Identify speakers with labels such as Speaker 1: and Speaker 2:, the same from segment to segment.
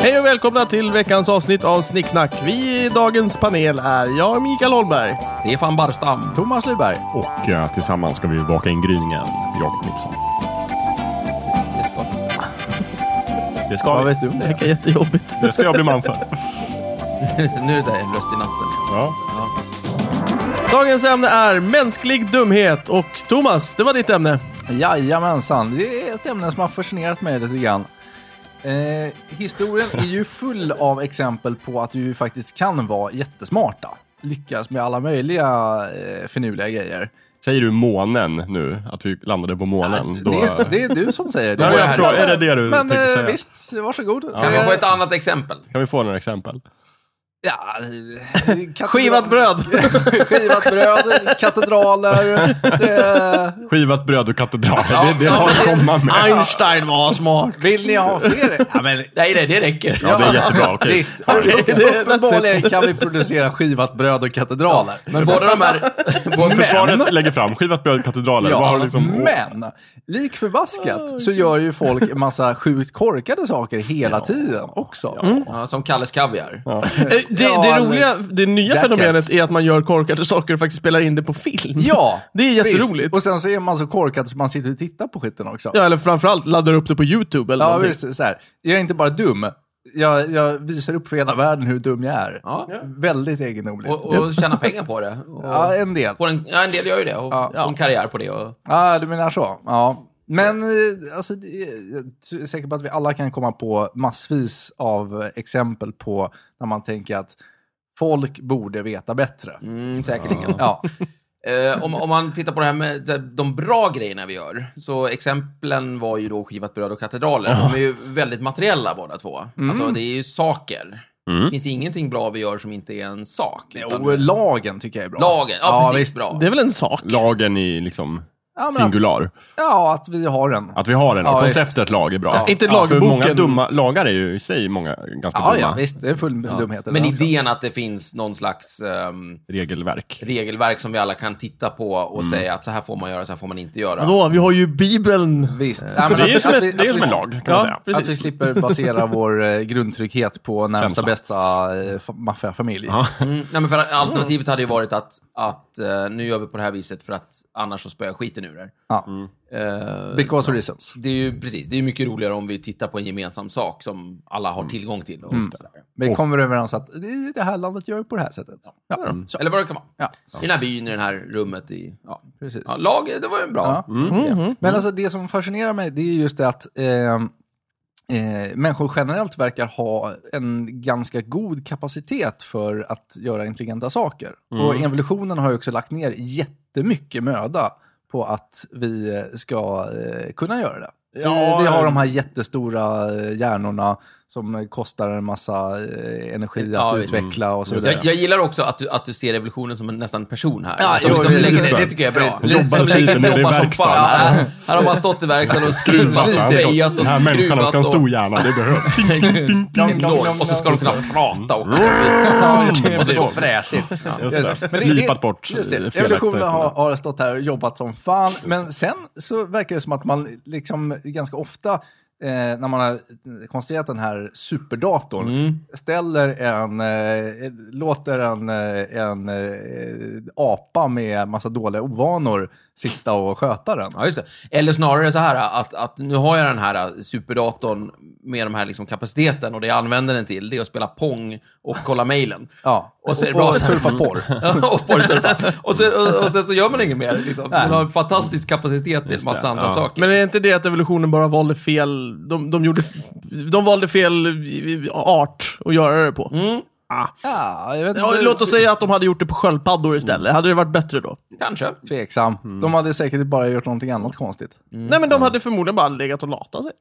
Speaker 1: Hej och välkomna till veckans avsnitt av Snicksnack. Vi i dagens panel är jag, Mikael Holmberg.
Speaker 2: Stefan Barstam.
Speaker 1: Thomas Luberg.
Speaker 3: Och eh, tillsammans ska vi baka in gryningen, Jakob Nilsson.
Speaker 2: Det ska vi.
Speaker 3: Det ska
Speaker 1: Vad
Speaker 3: vi.
Speaker 1: vet du om det? verkar jättejobbigt.
Speaker 3: Det ska jag bli man för.
Speaker 2: Nu är det så här en röst i natten.
Speaker 3: Ja.
Speaker 1: Dagens ämne är mänsklig dumhet och Thomas, det var ditt ämne.
Speaker 4: Jajamensan, det är ett ämne som har fascinerat mig lite grann. Eh, historien är ju full av exempel på att du faktiskt kan vara jättesmarta. Lyckas med alla möjliga eh, finurliga grejer.
Speaker 3: Säger du månen nu? Att vi landade på månen? då...
Speaker 4: Det, det är du som säger det.
Speaker 3: Nej, jag
Speaker 4: Men-
Speaker 3: frågar, är det det du
Speaker 4: Men
Speaker 3: tänkte säga?
Speaker 4: eh, visst, varsågod.
Speaker 3: Ja.
Speaker 2: Kan vi få ett
Speaker 1: Eh,
Speaker 2: annat exempel?
Speaker 3: Kan vi få några exempel?
Speaker 4: Ja, katedral-
Speaker 1: Skivat bröd.
Speaker 4: Skivat bröd, katedraler. Det...
Speaker 3: Skivat bröd och katedraler,
Speaker 2: Ja,
Speaker 3: det, det
Speaker 2: ja,
Speaker 3: har
Speaker 2: men
Speaker 3: att
Speaker 2: det-
Speaker 3: komma med.
Speaker 1: Einstein var smart.
Speaker 4: Vill ni ha fler? Ja, men
Speaker 2: Nej, nej, det räcker.
Speaker 3: Ja, det är jättebra. Typ. okej.
Speaker 4: Visst,
Speaker 1: det-
Speaker 4: uppenbarligen kan vi producera skivat bröd och katedraler.
Speaker 2: Men båda de här... båda-
Speaker 3: Försvaret lägger fram skivat bröd och katedraler. Vad har liksom...
Speaker 4: men lik förbaskat så gör ju folk en massa sjukt korkade saker hela tiden också. Mm.
Speaker 2: Ja, som Kalles Kaviar.
Speaker 1: Eh, Det, det,
Speaker 4: Ja, men-
Speaker 1: roliga, det nya
Speaker 4: Jackass.
Speaker 1: fenomenet är att man gör korkade saker och faktiskt spelar in det på film.
Speaker 4: Ja,
Speaker 1: Det är jätteroligt.
Speaker 4: Visst. Och sen så är man så korkad så man sitter och tittar på skiten också.
Speaker 1: Ja, eller framförallt laddar upp det på YouTube eller
Speaker 4: Ja,
Speaker 1: någonting.
Speaker 4: visst. Så här. Jag är inte bara dum. Jag, jag visar upp för hela världen hur dum jag är.
Speaker 2: Ja.
Speaker 4: Väldigt egendomligt.
Speaker 2: Och, och tjäna pengar på det. Och
Speaker 4: ja, en del.
Speaker 2: får en, ja, en del gör ju det. Och, och en karriär på det. Och,
Speaker 4: Ja, du menar så. Ja. Men eh, alltså, det är- jag är säker på att vi alla kan komma på massvis av eh, exempel på när man tänker att folk borde veta bättre.
Speaker 2: mm, säkerligen.
Speaker 4: Ja,
Speaker 2: Eh, om, om man tittar på det här med de, de bra grejerna vi gör, så exemplen var ju då skivat bröd och katedraler. De är ju väldigt materiella båda två.
Speaker 1: Mm.
Speaker 2: Alltså, det är ju saker. Finns det ingenting bra vi gör som inte är en sak? utan-
Speaker 4: och lagen tycker jag är bra.
Speaker 2: Lagen, ja, precis,
Speaker 4: visst.
Speaker 2: bra.
Speaker 1: Det är väl en sak?
Speaker 3: Lagen i liksom
Speaker 4: Ja, men att,
Speaker 3: singular.
Speaker 4: ja, att vi har en.
Speaker 3: Att vi har en.
Speaker 4: Ja,
Speaker 3: konceptet lag är bra.
Speaker 1: Inte
Speaker 3: För
Speaker 1: lagboken.
Speaker 3: många dumma lagar är ju i sig många ganska
Speaker 4: Ja, ja,
Speaker 3: dumma
Speaker 4: visst. Det är full med dumhet. Alltså, i
Speaker 2: Men
Speaker 4: den också.
Speaker 2: idén att det finns någon slags ehm,
Speaker 3: regelverk.
Speaker 2: regelverk som vi alla kan titta på och säga att så här får man göra, så här får man inte göra.
Speaker 1: Vadå, vi har ju Bibeln.
Speaker 4: Visst. Ja, men
Speaker 3: Eh, Det är ju
Speaker 4: att-
Speaker 3: som,
Speaker 4: att
Speaker 3: ett,
Speaker 4: vi-
Speaker 3: det är ju
Speaker 4: att vi-
Speaker 3: som en lag, kan
Speaker 1: Ja,
Speaker 3: man säga.
Speaker 1: precis.
Speaker 4: Att vi slipper basera vår eh, grundtrygghet på närmsta
Speaker 3: Känsla.
Speaker 4: bästa eh, fa- maffiafamilj.
Speaker 2: Mm, nej, men för alternativet hade ju varit att, att eh, nu gör vi på det här viset för att annars så spöar skiten ur er.
Speaker 4: Ja.
Speaker 2: Eh,
Speaker 4: Because of reasons.
Speaker 2: det är ju precis, det är ju mycket roligare om vi tittar på en gemensam sak som alla har tillgång till. Och sådär.
Speaker 4: Vi kommer överens att i det här landet gör vi på det här sättet. Ja.
Speaker 2: Så, eller vad det kan vara.
Speaker 4: Ja.
Speaker 2: I den här byn, i det här rummet, i... Ja.
Speaker 4: Precis.
Speaker 2: Ja, Mm. lag, det var ju en bra.
Speaker 4: Ja. Men alltså det som fascinerar mig det är just det att eh, eh, människor generellt verkar ha en ganska god kapacitet för att göra intelligenta saker.
Speaker 2: Mm.
Speaker 4: Och evolutionen har ju också lagt ner jättemycket möda på att vi eh, ska eh, kunna göra det.
Speaker 3: Ja,
Speaker 4: vi, vi har
Speaker 3: eh,
Speaker 4: de här jättestora eh, hjärnorna som eh, kostar en massa eh, energi att
Speaker 2: Ja, visst. Mm.
Speaker 4: utveckla och så vidare.
Speaker 2: Jag, jag gillar också att du, att du ser evolutionen som en nästan person här.
Speaker 4: Ja,
Speaker 2: som,
Speaker 4: jo,
Speaker 2: som
Speaker 4: det-
Speaker 2: lägger,
Speaker 4: det-
Speaker 2: det, det tycker jag är bra.
Speaker 3: Jobbar
Speaker 2: som
Speaker 3: sliter
Speaker 2: lägger-
Speaker 3: ner i
Speaker 2: jobbar som
Speaker 3: verkstaden.
Speaker 2: fan. Här, här har man stått i verkstaden och skruvat och fejat och
Speaker 3: Den här människan
Speaker 2: skruvat
Speaker 3: ska ha en
Speaker 2: och
Speaker 3: stor hjärna, det behövs. Ding, ding, ding, ding.
Speaker 4: Ding, dong,
Speaker 2: och så ska de kunna prata också.
Speaker 4: Och
Speaker 2: Och
Speaker 4: så
Speaker 2: så-
Speaker 4: fräsigt.
Speaker 3: Just det.
Speaker 4: Men
Speaker 3: Slipat bort
Speaker 4: Just
Speaker 3: eh,
Speaker 4: det. Evolutionen
Speaker 3: felaktigheterna.
Speaker 4: har, har stått här och jobbat som fan. Men sen så verkar det som att man liksom ganska ofta eh, när man har konstruerat den här superdatorn ställer en, eh, låter en, eh, en eh, apa med massa dåliga ovanor sitta och sköta den.
Speaker 2: Ja, just det. Eller snarare så här att, att nu har jag den här superdatorn med de här liksom kapaciteten och det jag använder den till det är att spela Pong och kolla mejlen.
Speaker 4: Ja.
Speaker 2: Och så är det bra
Speaker 4: och
Speaker 2: så här.
Speaker 4: surfa porr.
Speaker 2: Ja, och porrsurfa. Och, sen- och, och sen så gör man inget mer. Liksom. Man har en fantastisk kapacitet till massa andra saker.
Speaker 1: Men är inte det att evolutionen bara valde fel, de, de, gjorde, de valde fel eh, art att göra det på?
Speaker 4: Ja, jag vet
Speaker 1: Ja,
Speaker 4: inte.
Speaker 1: låt oss säga att de hade gjort det på sköldpaddor istället, hade det varit bättre då?
Speaker 2: Kanske.
Speaker 4: Tveksam. De hade säkert bara gjort någonting annat konstigt.
Speaker 1: Nej men de hade förmodligen bara legat och latat sig.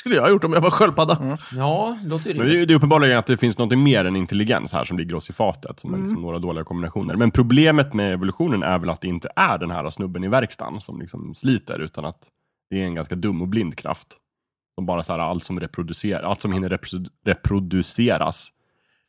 Speaker 1: Skulle jag ha gjort om jag var sköldpadda.
Speaker 2: Ja, det låter ju
Speaker 4: Mm.
Speaker 3: Men det är
Speaker 2: rimligt.
Speaker 3: ju- det är uppenbarligen att det finns något mer än intelligens här som ligger oss i fatet, som är
Speaker 4: Mm.
Speaker 3: liksom några dåliga kombinationer. Men problemet med evolutionen är väl att det inte är den här snubben i verkstaden som liksom sliter, utan att det är en ganska dum och blind kraft. Som bara så här, allt som reproducerar, allt som hinner reprodu- reproduceras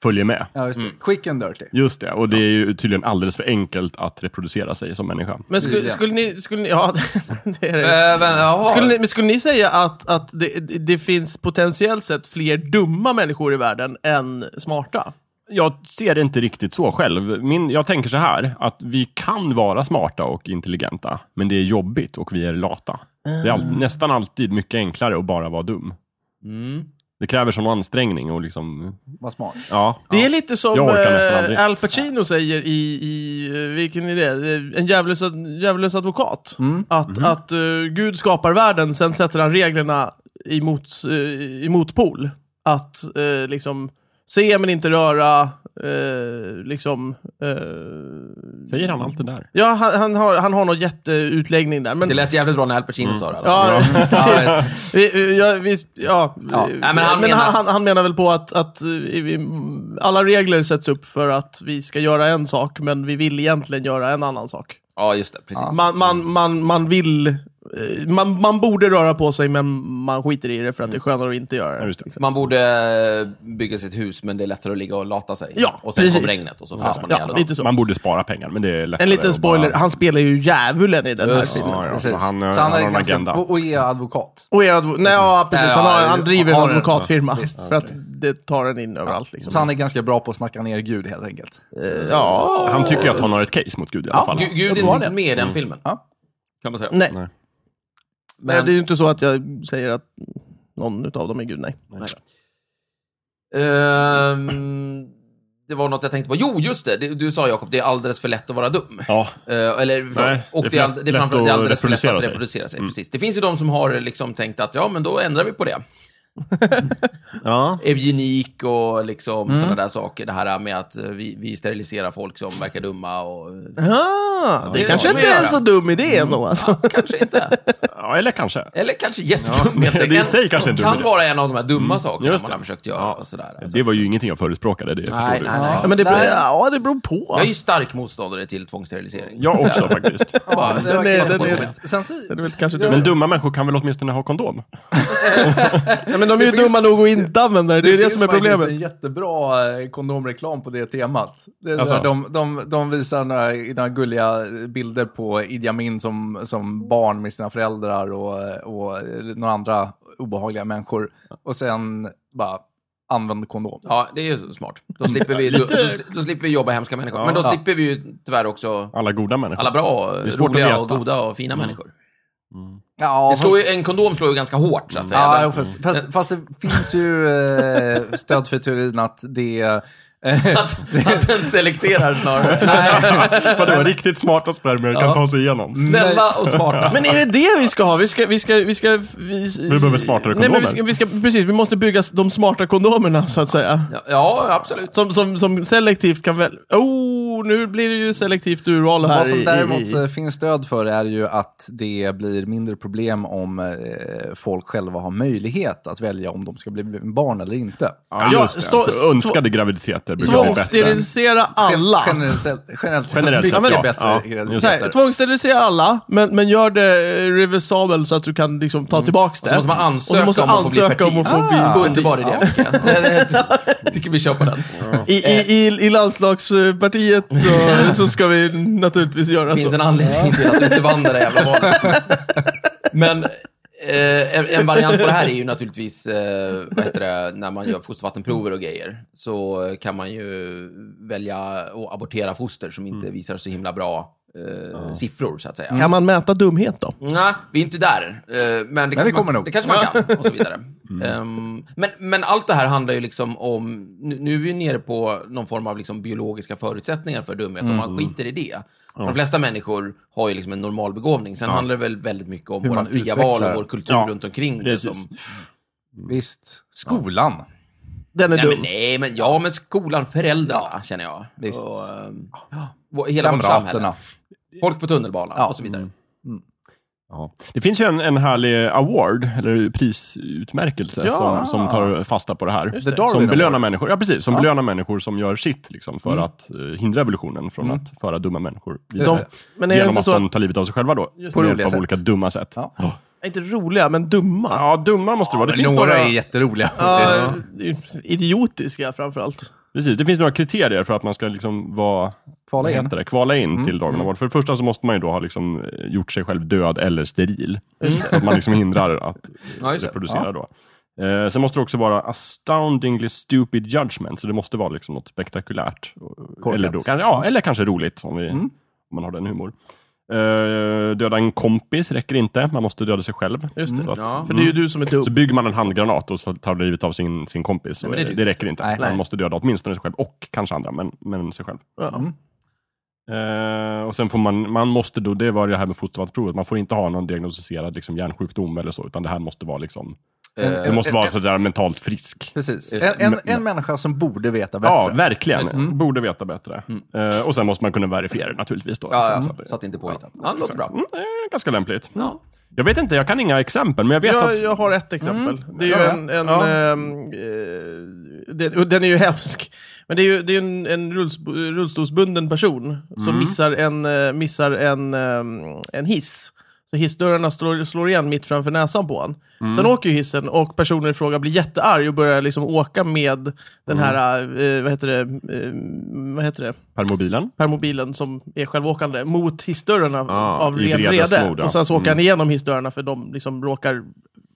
Speaker 3: följer med.
Speaker 4: Ja, just det. Quick and dirty.
Speaker 3: Just det, och det är ju tydligen alldeles för enkelt att reproducera sig som människa.
Speaker 1: Men skulle,
Speaker 4: Ja.
Speaker 1: skulle ni... Skulle ni ja, det är det.
Speaker 2: Eh, vem- jaha.
Speaker 1: Skulle ni, men skulle ni säga att, att det, det finns potentiellt sett fler dumma människor i världen än smarta?
Speaker 3: Jag ser det inte riktigt så själv. Min, jag tänker så här, att vi kan vara smarta och intelligenta, men det är jobbigt och vi är lata. Det är
Speaker 2: Ah.
Speaker 3: all, nästan alltid mycket enklare att bara vara dum.
Speaker 2: Mm.
Speaker 3: Det kräver sån ansträngning och liksom,
Speaker 4: Vad smart.
Speaker 3: ja.
Speaker 1: Det är lite som
Speaker 3: Jag orkar nästan
Speaker 1: eh,
Speaker 3: aldrig.
Speaker 1: Al Pacino säger i, i eh, vilken är det? Eh, En djävulens, djävulens advokat.
Speaker 3: Mm.
Speaker 1: Att, att eh, Gud skapar världen, sen sätter han reglerna i, mot, eh, i motpol. Att eh, liksom se men inte röra, eh, liksom... eh,
Speaker 3: Säger han allt det där?
Speaker 1: ja, han, han, har, han har någon jätteutläggning där. Men, Mm.
Speaker 2: Det lät jävligt bra när Al Pacino sa det. i alla fall.
Speaker 1: Ja, precis.
Speaker 2: Ja,
Speaker 1: Vi- vi- ja, vi, ja.
Speaker 4: Ja,
Speaker 1: vi-
Speaker 2: nej, men han menar-
Speaker 1: han, han, han menar väl på att, att eh, vi, alla regler sätts upp för att vi ska göra en sak, men vi vill egentligen göra en annan sak.
Speaker 2: ja, just det. Precis.
Speaker 1: Man, man, man, man vill... eh, Man, man borde röra på sig, men man skiter i det för att det är skönare att inte göra
Speaker 3: Ja,
Speaker 1: det.
Speaker 3: just det.
Speaker 2: Man borde eh, bygga sitt hus, men det är lättare att ligga och lata sig.
Speaker 1: Ja,
Speaker 2: och sen
Speaker 1: precis.
Speaker 2: kom regnet och så fast man
Speaker 1: Ja,
Speaker 2: ihjäl.
Speaker 1: lite så.
Speaker 3: Man borde spara pengar, men det är lättare
Speaker 1: En liten
Speaker 3: att
Speaker 1: spoiler,
Speaker 3: Bara...
Speaker 1: han spelar ju djävulen i den här
Speaker 2: Just det.
Speaker 1: filmen.
Speaker 3: Ja, ja,
Speaker 4: Precis.
Speaker 3: så han, eh,
Speaker 4: så han
Speaker 3: har
Speaker 4: är
Speaker 3: en
Speaker 4: ganska
Speaker 3: agenda.
Speaker 4: Och är advokat.
Speaker 1: Och är advo- nej, ja, precis. Han, har,
Speaker 4: Ja,
Speaker 1: han driver en
Speaker 4: har en-
Speaker 1: advokatfirma.
Speaker 4: Visst.
Speaker 1: För att det tar en in överallt. Liksom.
Speaker 4: Så han är ganska bra på att snacka ner Gud helt enkelt.
Speaker 1: Eh, ja.
Speaker 3: Han tycker att han har ett case mot Gud i alla fall.
Speaker 2: Gud, Gud är
Speaker 4: Bra
Speaker 2: inte riktigt
Speaker 4: det.
Speaker 2: med i
Speaker 1: Mm.
Speaker 2: den filmen.
Speaker 4: Ja.
Speaker 2: Kan man säga.
Speaker 1: Nej.
Speaker 3: Nej.
Speaker 1: Men...
Speaker 2: Men,
Speaker 1: det är ju inte så att jag säger att någon utav dem är gud, nej.
Speaker 2: Ehm, det var något jag tänkte på. Jo, just det. det du sa Jakob, det är alldeles för lätt att vara dum.
Speaker 3: Ja,
Speaker 2: Eh, eller,
Speaker 3: Nej,
Speaker 2: och
Speaker 3: det är
Speaker 2: det är, all,
Speaker 3: för
Speaker 2: det är, framför,
Speaker 3: lätt
Speaker 2: det är
Speaker 3: att
Speaker 2: alldeles för lätt att
Speaker 3: reproducera sig. Mm.
Speaker 2: reproducera sig. Precis. Det finns ju de som har liksom tänkt att ja, men då ändrar vi på det.
Speaker 3: ja. Mm.
Speaker 2: Eugenik och liksom sådana där saker. Det här med att eh, vi, vi steriliserar folk som verkar dumma och... eh,
Speaker 1: Ah, det
Speaker 2: det
Speaker 1: kanske
Speaker 2: kan vi
Speaker 1: inte är en
Speaker 2: göra.
Speaker 1: så dum idé ändå alltså.
Speaker 2: Ja, kanske inte.
Speaker 3: ja eller kanske.
Speaker 2: Eller kanske jättedum.
Speaker 3: Ja, det i sig kanske är en dum
Speaker 2: kan
Speaker 3: idé.
Speaker 2: vara en av de här dumma sakerna
Speaker 3: just
Speaker 2: man
Speaker 3: det.
Speaker 2: har försökt göra.
Speaker 3: Ja.
Speaker 2: Och sådär.
Speaker 3: Det var ju ingenting jag förespråkade, det förstår du.
Speaker 2: nej.
Speaker 1: Ja, men det,
Speaker 4: Nej.
Speaker 1: ja, det beror på.
Speaker 2: Jag är ju stark motståndare till tvångssterilisering.
Speaker 3: Jag också faktiskt.
Speaker 2: Bara-
Speaker 4: det
Speaker 1: den
Speaker 4: verkar
Speaker 1: är-
Speaker 4: vara
Speaker 1: den
Speaker 4: så.
Speaker 1: är-
Speaker 4: Sen så,
Speaker 1: Det är väl kanske
Speaker 3: Men
Speaker 1: dumt.
Speaker 3: dumma människor kan väl åtminstone ha kondom?
Speaker 1: Ja, men de är ju dumma nog att inte använda det, det är ju det
Speaker 4: finns
Speaker 1: som är
Speaker 4: faktiskt
Speaker 1: problemet.
Speaker 4: en jättebra eh, kondomreklam på det temat. Det är så
Speaker 3: Alltså?
Speaker 4: här, de, de, de visar några, några gulliga bilder på Idi Amin som, som barn med sina föräldrar och, och några andra obehagliga människor. Och sen bara, använd kondom.
Speaker 2: Ja, det är ju smart. Då slipper vi, då, då, då slipper vi jobba hemska människor. Men då
Speaker 4: Ja.
Speaker 2: slipper vi ju tyvärr också
Speaker 3: Alla goda människor.
Speaker 2: alla bra,
Speaker 3: är svårt att
Speaker 2: roliga och
Speaker 3: veta.
Speaker 2: goda och fina människor.
Speaker 4: Ja,
Speaker 2: Det slår ju, en kondom slår ju ganska hårt, så att säga.
Speaker 4: Ja,
Speaker 2: Den-
Speaker 4: jo, fast, fast, fast det finns ju eh, stöd för teorin att det... Eh,
Speaker 2: att, att den selekterar snarare.
Speaker 3: Vadå, riktigt smarta spermier kan ta sig igenom.
Speaker 2: Snälla och smarta.
Speaker 1: Men är det det vi ska ha? Vi ska... Vi, ska, vi, ska, vi,
Speaker 3: Vi behöver smartare
Speaker 1: Nej, men vi ska,
Speaker 3: kondomer.
Speaker 1: vi ska, precis, vi måste bygga de smarta kondomerna så att säga.
Speaker 2: Ja, Ja, absolut.
Speaker 1: Som, som, som selektivt kan väl... Oh, nu blir det ju selektivt urval här.
Speaker 4: Vad som
Speaker 1: i-
Speaker 4: däremot
Speaker 1: i,
Speaker 4: eh, finns stöd för är ju att det blir mindre problem om eh, folk själva har möjlighet att välja om de ska bli barn eller inte.
Speaker 3: Ja,
Speaker 1: Ja,
Speaker 3: just det.
Speaker 1: stå-
Speaker 3: så önskade graviditeter brukar bli bättre.
Speaker 1: Tvångssterilisera alla.
Speaker 4: Generellt sett. Generellt sett.
Speaker 3: Generellt sett,
Speaker 4: mycket
Speaker 3: ja.
Speaker 4: bättre
Speaker 3: Ja,
Speaker 4: graviditeter.
Speaker 3: just
Speaker 1: Så här, tvångssterilisera alla, men, men gör det eh, reversibel så att du kan liksom ta tillbaks det.
Speaker 2: Mm. Och så måste man ansöka
Speaker 1: Och så måste
Speaker 2: om att få bli
Speaker 1: ansöka
Speaker 2: fertil. Ah.
Speaker 1: om att få bli
Speaker 2: Ja, Underbar idé. Jag tycker vi kör på den.
Speaker 1: I,
Speaker 2: Eh.
Speaker 1: i, i, I landslagspartiet så, så ska vi naturligtvis göra
Speaker 2: Det finns
Speaker 1: så.
Speaker 2: en anledning till att du inte vann det där jävla valet. Men eh, en- en variant på det här är ju naturligtvis, eh, vad heter det, när man gör fostervattenprover och grejer, så kan man ju välja att abortera foster som inte visar så himla bra eh, siffror, så att säga.
Speaker 1: Kan man mäta dumhet då?
Speaker 2: Nej, vi är inte där. Eh, Men det, kanske
Speaker 4: det kommer
Speaker 2: man,
Speaker 4: nog.
Speaker 2: Det kanske man kan, och så vidare. Ehm, men, men allt det här handlar ju liksom om... Nu, nu är vi nere på någon form av liksom biologiska förutsättningar för dumhet, om man skiter i det. De flesta människor har ju liksom en normal begåvning. Sen handlar det väl väldigt mycket om våra
Speaker 4: man
Speaker 2: fria
Speaker 4: utvecklar.
Speaker 2: val och vår kultur
Speaker 3: Ja,
Speaker 2: runt omkring. det
Speaker 3: precis.
Speaker 2: som-
Speaker 4: Visst. Skolan.
Speaker 1: Den är
Speaker 2: Nej, men,
Speaker 1: dum.
Speaker 2: nej, men ja, men skolan, föräldrarna, känner jag.
Speaker 4: visst.
Speaker 2: Och, ehm, vår- hela vårt samhälle.
Speaker 4: Kamraterna.
Speaker 2: Folk på tunnelbanan
Speaker 4: Ja.
Speaker 2: och så vidare.
Speaker 3: Ja. Det finns ju en, en härlig award, eller prisutmärkelse,
Speaker 1: Ja.
Speaker 3: som, som tar fasta på det här.
Speaker 4: det. The Darwin
Speaker 3: Som belönar
Speaker 4: Award.
Speaker 3: människor, ja, precis, som belönar människor som gör sitt liksom, för att eh, hindra evolutionen från att föra dumma människor vidare.
Speaker 1: Men är det
Speaker 3: Genom
Speaker 1: inte
Speaker 3: att
Speaker 1: så att,
Speaker 3: de tar livet av sig själva då,
Speaker 4: På
Speaker 3: med
Speaker 4: roliga
Speaker 3: hjälp av
Speaker 4: sätt.
Speaker 3: olika dumma sätt.
Speaker 4: Ja.
Speaker 3: Ja.
Speaker 1: inte roliga, men dumma?
Speaker 3: Ja, dumma måste det vara. Det
Speaker 4: Men
Speaker 3: finns
Speaker 4: några
Speaker 3: några...
Speaker 4: är jätteroliga.
Speaker 1: Ja, idiotiska framförallt.
Speaker 3: Precis, det finns några kriterier för att man ska liksom vara,
Speaker 4: Kvala
Speaker 3: vad
Speaker 4: igen.
Speaker 3: heter det, kvala in till Dragon of War. För det första så måste man ju då ha liksom eh, gjort sig själv död eller steril. Så att man liksom hindrar att
Speaker 2: Ja, just det.
Speaker 3: reproducera då. Eh, sen måste det också vara astoundingly stupid judgment, så det måste vara liksom något spektakulärt.
Speaker 4: Korkat.
Speaker 3: Eller, då, kan- ja, eller kanske roligt, om, vi, om man har den humor. Eh, döda en kompis räcker inte, man måste döda sig själv.
Speaker 1: Just det.
Speaker 3: Så att-
Speaker 2: Ja. Mm.
Speaker 1: För det är ju du som är
Speaker 3: så
Speaker 1: dum.
Speaker 3: bygger man en handgranat och så tar livet av sin, sin kompis.
Speaker 2: Nej,
Speaker 3: Och
Speaker 2: men
Speaker 3: det,
Speaker 2: det duger
Speaker 3: räcker inte.
Speaker 4: Nej.
Speaker 3: Man måste döda åtminstone sig själv och kanske andra, men, men sig själv.
Speaker 1: Ja.
Speaker 3: Eh, och sen får man, man måste då, det var det här med fostervattenprovet, man får inte ha någon diagnostiserad liksom, hjärnsjukdom eller så, utan det här måste vara liksom,
Speaker 2: Eh,
Speaker 3: det måste vara så att säga mentalt frisk.
Speaker 4: Precis.
Speaker 2: Just det.
Speaker 4: En, en,
Speaker 3: Men-
Speaker 4: en människa som borde veta bättre.
Speaker 3: Ja, verkligen. Borde veta bättre. Eh, och sen måste man kunna verifiera det naturligtvis då.
Speaker 2: ja,
Speaker 3: Så
Speaker 2: ja,
Speaker 3: att det-
Speaker 2: så att det inte är påhittat. Mm. Ja, det låter
Speaker 3: exakt.
Speaker 2: bra.
Speaker 3: Mm, det är ganska lämpligt.
Speaker 2: Ja.
Speaker 3: Jag vet inte, jag kan inga exempel, men jag vet
Speaker 1: Jag,
Speaker 3: att... Mm.
Speaker 1: jag har ett exempel. Det är ju
Speaker 3: Ja, ja.
Speaker 1: en... en
Speaker 3: Ja.
Speaker 1: ehm, eh, den, och den är ju hemsk. Men det är ju det är en, en rulls, rullstolsbunden person som
Speaker 3: Mm.
Speaker 1: missar en, eh, missar en, ehm, en hiss. Så hissdörrarna slår, slår igen mitt framför näsan på honom.
Speaker 3: Mm.
Speaker 1: Sen åker ju hissen och personen i fråga blir jättearg och börjar liksom åka med den här,
Speaker 3: Mm.
Speaker 1: eh, vad heter det, eh, vad heter det?
Speaker 3: Permobilen.
Speaker 1: permobilen som är självåkande mot hissdörrarna
Speaker 3: Ah,
Speaker 1: av
Speaker 3: i
Speaker 1: ren
Speaker 3: vredesmod,
Speaker 1: vrede.
Speaker 3: ja.
Speaker 1: Och sen så åker
Speaker 3: Mm.
Speaker 1: han igenom hissdörrarna för de liksom råkar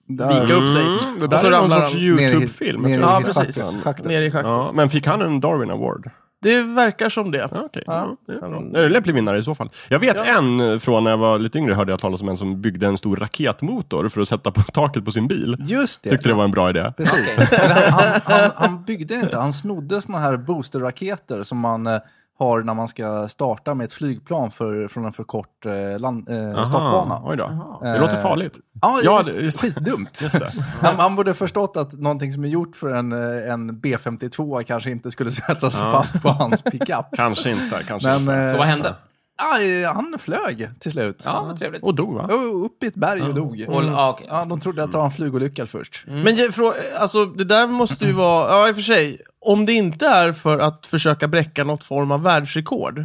Speaker 4: Där.
Speaker 1: vika upp sig.
Speaker 3: Mm, det
Speaker 1: och så
Speaker 3: där är någon
Speaker 1: ramlar
Speaker 3: sorts
Speaker 1: han
Speaker 3: YouTube-film.
Speaker 4: Ner i
Speaker 3: jag tror.
Speaker 1: Ja,
Speaker 4: ja,
Speaker 1: precis. ner i schaktet.
Speaker 3: Ja, men fick han en Darwin Award?
Speaker 1: Det verkar som det.
Speaker 3: Ja, okej.
Speaker 4: Ja.
Speaker 3: Ja, det är bra. Det är en lämplig vinnare i så fall. Jag vet en eh, från när jag var lite yngre hörde jag talas om en som byggde en stor raketmotor för att sätta på taket på sin bil.
Speaker 4: Just det.
Speaker 3: Tyckte det var en bra idé.
Speaker 4: Precis. Eller Han, han, han, han byggde inte, han snodde såna här boosterraketer som man eh, har när man ska starta med ett flygplan för, från en för kort eh, land, eh, startbana.
Speaker 3: Oj då. Det låter
Speaker 4: Eh,
Speaker 3: farligt.
Speaker 4: Ja,
Speaker 3: Ja,
Speaker 4: det
Speaker 3: det-
Speaker 4: är skitdumt.
Speaker 3: Just det.
Speaker 4: Han, han borde förstått att någonting som är gjort för en, eh, en B52 kanske inte skulle sättas fast på hans pickup.
Speaker 3: Kanske inte. Kanske
Speaker 4: Men
Speaker 3: inte.
Speaker 4: eh,
Speaker 2: Så vad hände?
Speaker 4: ja, eh, han flög till slut.
Speaker 2: Ja, vad trevligt.
Speaker 3: Och dog va?
Speaker 4: Och Upp i ett berg och dog. Mm.
Speaker 2: Och- ja, okej.
Speaker 4: Ja, de trodde att det var en flygolycka först.
Speaker 1: Men jag frå- alltså, det där måste ju vara, ja i och för sig, om det inte är för att försöka bräcka något form av världsrekord.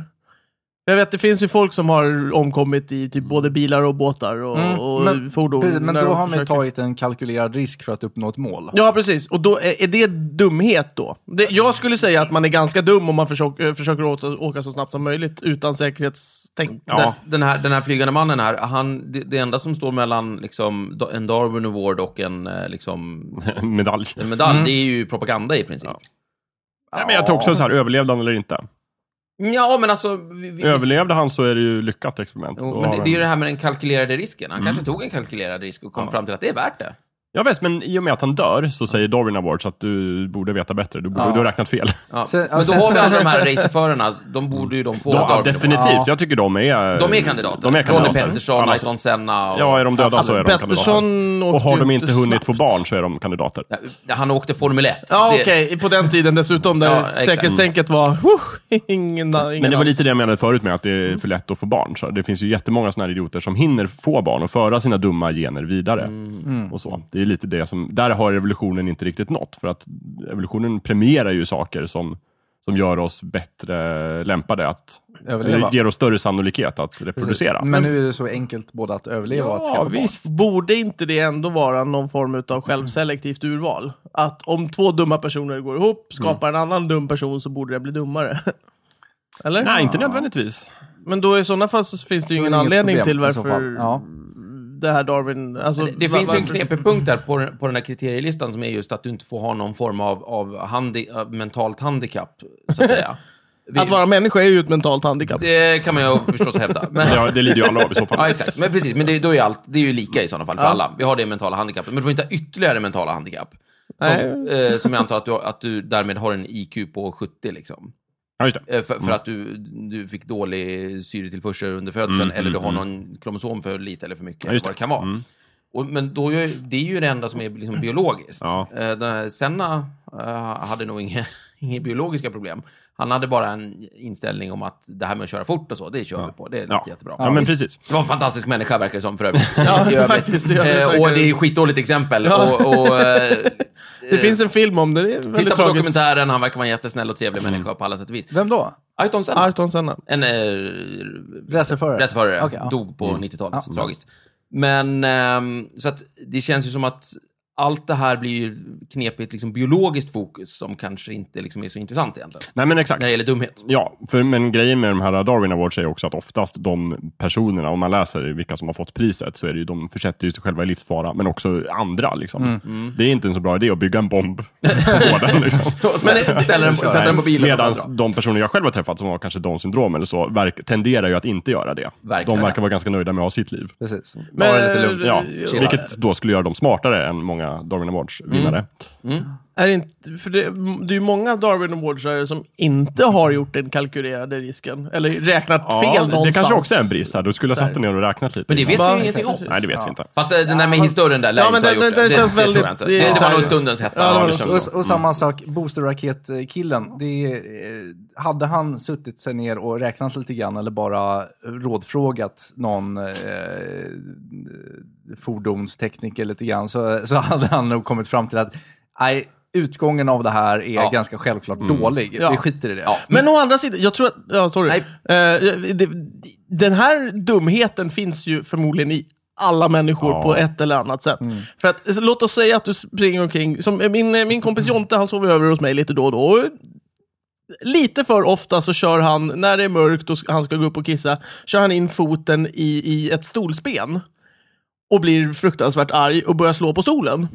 Speaker 1: Jag vet, det finns ju folk som har omkommit i typ både bilar och båtar och,
Speaker 4: Mm,
Speaker 1: och
Speaker 4: men-
Speaker 1: fordon.
Speaker 4: Precis, men
Speaker 1: när
Speaker 4: då
Speaker 1: de
Speaker 4: har man ju
Speaker 1: försöker-
Speaker 4: tagit en kalkylerad risk för att uppnå ett mål.
Speaker 1: Ja, precis. Och då, är är det dumhet då? Det, jag skulle säga att man är ganska dum om man försöker, eh, försöker åka, åka så snabbt som möjligt utan säkerhetstänk.
Speaker 3: Ja.
Speaker 2: Den, den, här, den här flygande mannen här, han, det, det enda som står mellan liksom, da- en Darwin Award och en, eh, liksom,
Speaker 3: En medalj.
Speaker 2: en medalj, det är ju propaganda i princip.
Speaker 3: Nej, men jag tror också så här, överlevde han eller inte?
Speaker 2: Ja, men alltså... Vi, vi,
Speaker 3: Överlevde han så är det ju lyckat experiment. Då
Speaker 2: Jo,
Speaker 3: har
Speaker 2: men det,
Speaker 3: han-
Speaker 2: det är ju det här med den kalkylerade risken. Han kanske tog en kalkylerad risk och kom fram till att det är värt det.
Speaker 3: Ja visst, men i och med att han dör så säger Darwin Awards att du borde veta bättre. Du, borde,
Speaker 4: Ja.
Speaker 3: du har räknat fel.
Speaker 2: Ja.
Speaker 4: Sen-
Speaker 2: men då
Speaker 4: sen-
Speaker 2: har vi
Speaker 4: sen-
Speaker 2: alla de alltså, här racerförarna, alltså, de borde ju de få.
Speaker 3: Ja,
Speaker 2: Darwin.
Speaker 3: definitivt.
Speaker 4: Ja.
Speaker 3: Jag tycker de är...
Speaker 2: De är kandidater.
Speaker 3: De är
Speaker 2: Ronnie
Speaker 3: kandidater.
Speaker 2: Peterson,
Speaker 3: Annars-
Speaker 2: Ayrton Senna. Och,
Speaker 3: Ja, är de döda så är de kandidater.
Speaker 1: Alltså, Pettersson
Speaker 3: Och har de
Speaker 1: ju
Speaker 3: inte hunnit få barn så är de kandidater.
Speaker 2: Ja, Han åkte Formel 1.
Speaker 1: Ja,
Speaker 2: Det-
Speaker 1: okej. På den tiden dessutom, där
Speaker 2: Ja, exakt.
Speaker 1: säkerhetstänket var... Huh, ingen, ingen
Speaker 3: Men det var
Speaker 1: alls.
Speaker 3: lite det jag menade förut med att det är för lätt att få barn. Så det finns ju jättemånga såna här idioter som hinner få barn och föra sina dumma gener vidare. Och så. Det är lite det som, där har evolutionen inte riktigt nått. För att evolutionen premierar ju saker som, som gör oss bättre lämpade att
Speaker 4: Överleva.
Speaker 3: eller ger oss större sannolikhet att
Speaker 4: Precis.
Speaker 3: reproducera.
Speaker 4: Men
Speaker 1: Mm.
Speaker 4: nu är det så enkelt både att överleva och att skaffa barn.
Speaker 1: Borde inte det ändå vara någon form
Speaker 2: Mm.
Speaker 1: av självselektivt urval? Att om två dumma personer går ihop,
Speaker 2: Mm.
Speaker 1: skapar en annan dum person, så borde det bli dummare. Eller?
Speaker 3: Nej, inte nödvändigtvis.
Speaker 1: Men då i sådana fall så finns det ju
Speaker 4: Det är
Speaker 1: ingen
Speaker 4: inget
Speaker 1: anledning
Speaker 4: problem
Speaker 1: till
Speaker 4: i så
Speaker 1: varför
Speaker 4: fall. Ja.
Speaker 1: det här Darwin... Alltså,
Speaker 2: Det, det
Speaker 1: va-
Speaker 2: finns ju en
Speaker 1: varför-
Speaker 2: knepig punkt där på, den- på den här kriterielistan som är just att du inte får ha någon form av, av handi, av mentalt handikapp, så att säga. Vi-
Speaker 1: Att vara människa är ju ett mentalt handikapp.
Speaker 2: Det kan man ju förstås hävda. Men,
Speaker 3: Ja, det lider ju alla av i så fall.
Speaker 2: Ja, exakt. Men precis, men det, då är allt, det är ju lika i sådana fall för alla. Vi har det mentala handikappet, men du får inte ha ytterligare mentala handikapp. Som, eh, som jag antar att du, har- att du därmed har en IQ på 70, liksom.
Speaker 3: Ja, just det.
Speaker 2: Eh, för, för att du, du fick dålig syretillförsel under födseln, eller du har någon kromosom för lite eller för mycket,
Speaker 3: just
Speaker 2: vad det
Speaker 3: det.
Speaker 2: kan vara. Och, men då är, det är ju det enda som är liksom biologiskt.
Speaker 3: Ja.
Speaker 2: Eh, den här Senna eh, hade nog inga, inga biologiska problem. Han hade bara en inställning om att det här med att köra fort och så, det kör vi på. Det är
Speaker 3: Ja.
Speaker 2: jättebra.
Speaker 3: Ja, men precis.
Speaker 2: Det var en fantastisk människa verkar det som för övrigt.
Speaker 1: Ja,
Speaker 2: I övrigt.
Speaker 1: faktiskt, i övrigt
Speaker 2: Eh,
Speaker 1: verkar
Speaker 2: och
Speaker 1: det-
Speaker 2: det är ett skitdåligt exempel.
Speaker 1: Ja.
Speaker 2: Och, och, eh,
Speaker 1: Det finns en film om det, det är väldigt
Speaker 2: titta på
Speaker 1: tragiskt.
Speaker 2: dokumentären, han verkar vara en jättesnäll och trevlig människa på alla sätt och vis.
Speaker 4: Vem då?
Speaker 2: Ayrton Senna,
Speaker 1: Ayrton Senna.
Speaker 2: en eh,
Speaker 4: Racerförare?
Speaker 2: racerförare,
Speaker 4: Okej, ja.
Speaker 2: dog på 90-talet.
Speaker 4: Ja.
Speaker 2: Så tragiskt. Men, ehm, så att det känns ju som att allt det här blir ju knepigt liksom, biologiskt fokus som kanske inte liksom, är så intressant egentligen.
Speaker 3: Nej, men exakt.
Speaker 2: När det gäller dumhet.
Speaker 3: Ja, för, men grejen med de här Darwin Awards är också att oftast de personerna, om man läser vilka som har fått priset, så är det ju de försätter ju sig själva i livsfara, men också andra. Liksom.
Speaker 2: Mm.
Speaker 3: Det är inte en så bra idé att bygga en bomb på den. Liksom.
Speaker 2: Men ställer den, sätter den på bilen. och
Speaker 3: Medan
Speaker 2: bara drar.
Speaker 3: de personer jag själv har träffat som har kanske Downs syndrom eller så, verk, tenderar ju att inte göra det.
Speaker 2: Verkligen.
Speaker 3: De verkar vara ganska nöjda med att ha sitt liv.
Speaker 4: Precis.
Speaker 1: Men-
Speaker 4: Bara lite lugnt.
Speaker 3: Ja,
Speaker 1: Chilla.
Speaker 3: vilket då skulle göra dem smartare än många Darwin Awards-vinnare.
Speaker 2: Mm.
Speaker 1: Är det, inte, för det, det är ju många Darwin Awards som inte har gjort den kalkylerade risken. Eller räknat fel
Speaker 3: Ja, det-
Speaker 1: någonstans.
Speaker 3: det kanske också är en brist här. Du skulle ha
Speaker 1: Så här.
Speaker 3: satt dig ner och räknat lite.
Speaker 2: Men det vet
Speaker 1: Bara-
Speaker 2: vi ju ingenting om.
Speaker 3: Nej, det vet vi inte.
Speaker 2: Fast eh, den där med historien där lär
Speaker 1: Ja,
Speaker 2: inte
Speaker 1: men
Speaker 2: ha
Speaker 1: det-
Speaker 2: gjort
Speaker 1: det- det känns
Speaker 2: tror jag
Speaker 1: väldigt-
Speaker 2: inte.
Speaker 1: det är
Speaker 2: Det, det
Speaker 1: så
Speaker 2: var
Speaker 1: här-
Speaker 2: nog stundens hetta.
Speaker 1: Ja, det var
Speaker 2: det
Speaker 1: nog
Speaker 2: känns så.
Speaker 1: stundens-
Speaker 4: Och, och samma sak, boosterraketkillen. Det är, eh, hade han suttit sig ner och räknat lite grann eller bara rådfrågat någon eh, fordonstekniker lite grann så, så hade han nog kommit fram till att nej, utgången av det här är
Speaker 2: Ja.
Speaker 4: ganska självklart dålig.
Speaker 1: Ja.
Speaker 4: Vi skiter i det.
Speaker 2: Ja.
Speaker 1: Men å andra sidan, jag tror att... Ja, sorry.
Speaker 2: Nej.
Speaker 1: Eh, det, den här dumheten finns ju förmodligen i alla människor
Speaker 3: Ja.
Speaker 1: på ett eller annat sätt.
Speaker 2: Mm.
Speaker 1: För att, så låt oss säga att du springer omkring, som eh, min, eh, min kompis Jonte, han sover över hos mig lite då och då. Och lite för ofta så kör han, när det är mörkt och sk- han ska gå upp och kissa, kör han in foten i, i ett stolsben. Och blir fruktansvärt arg och börjar slå på stolen.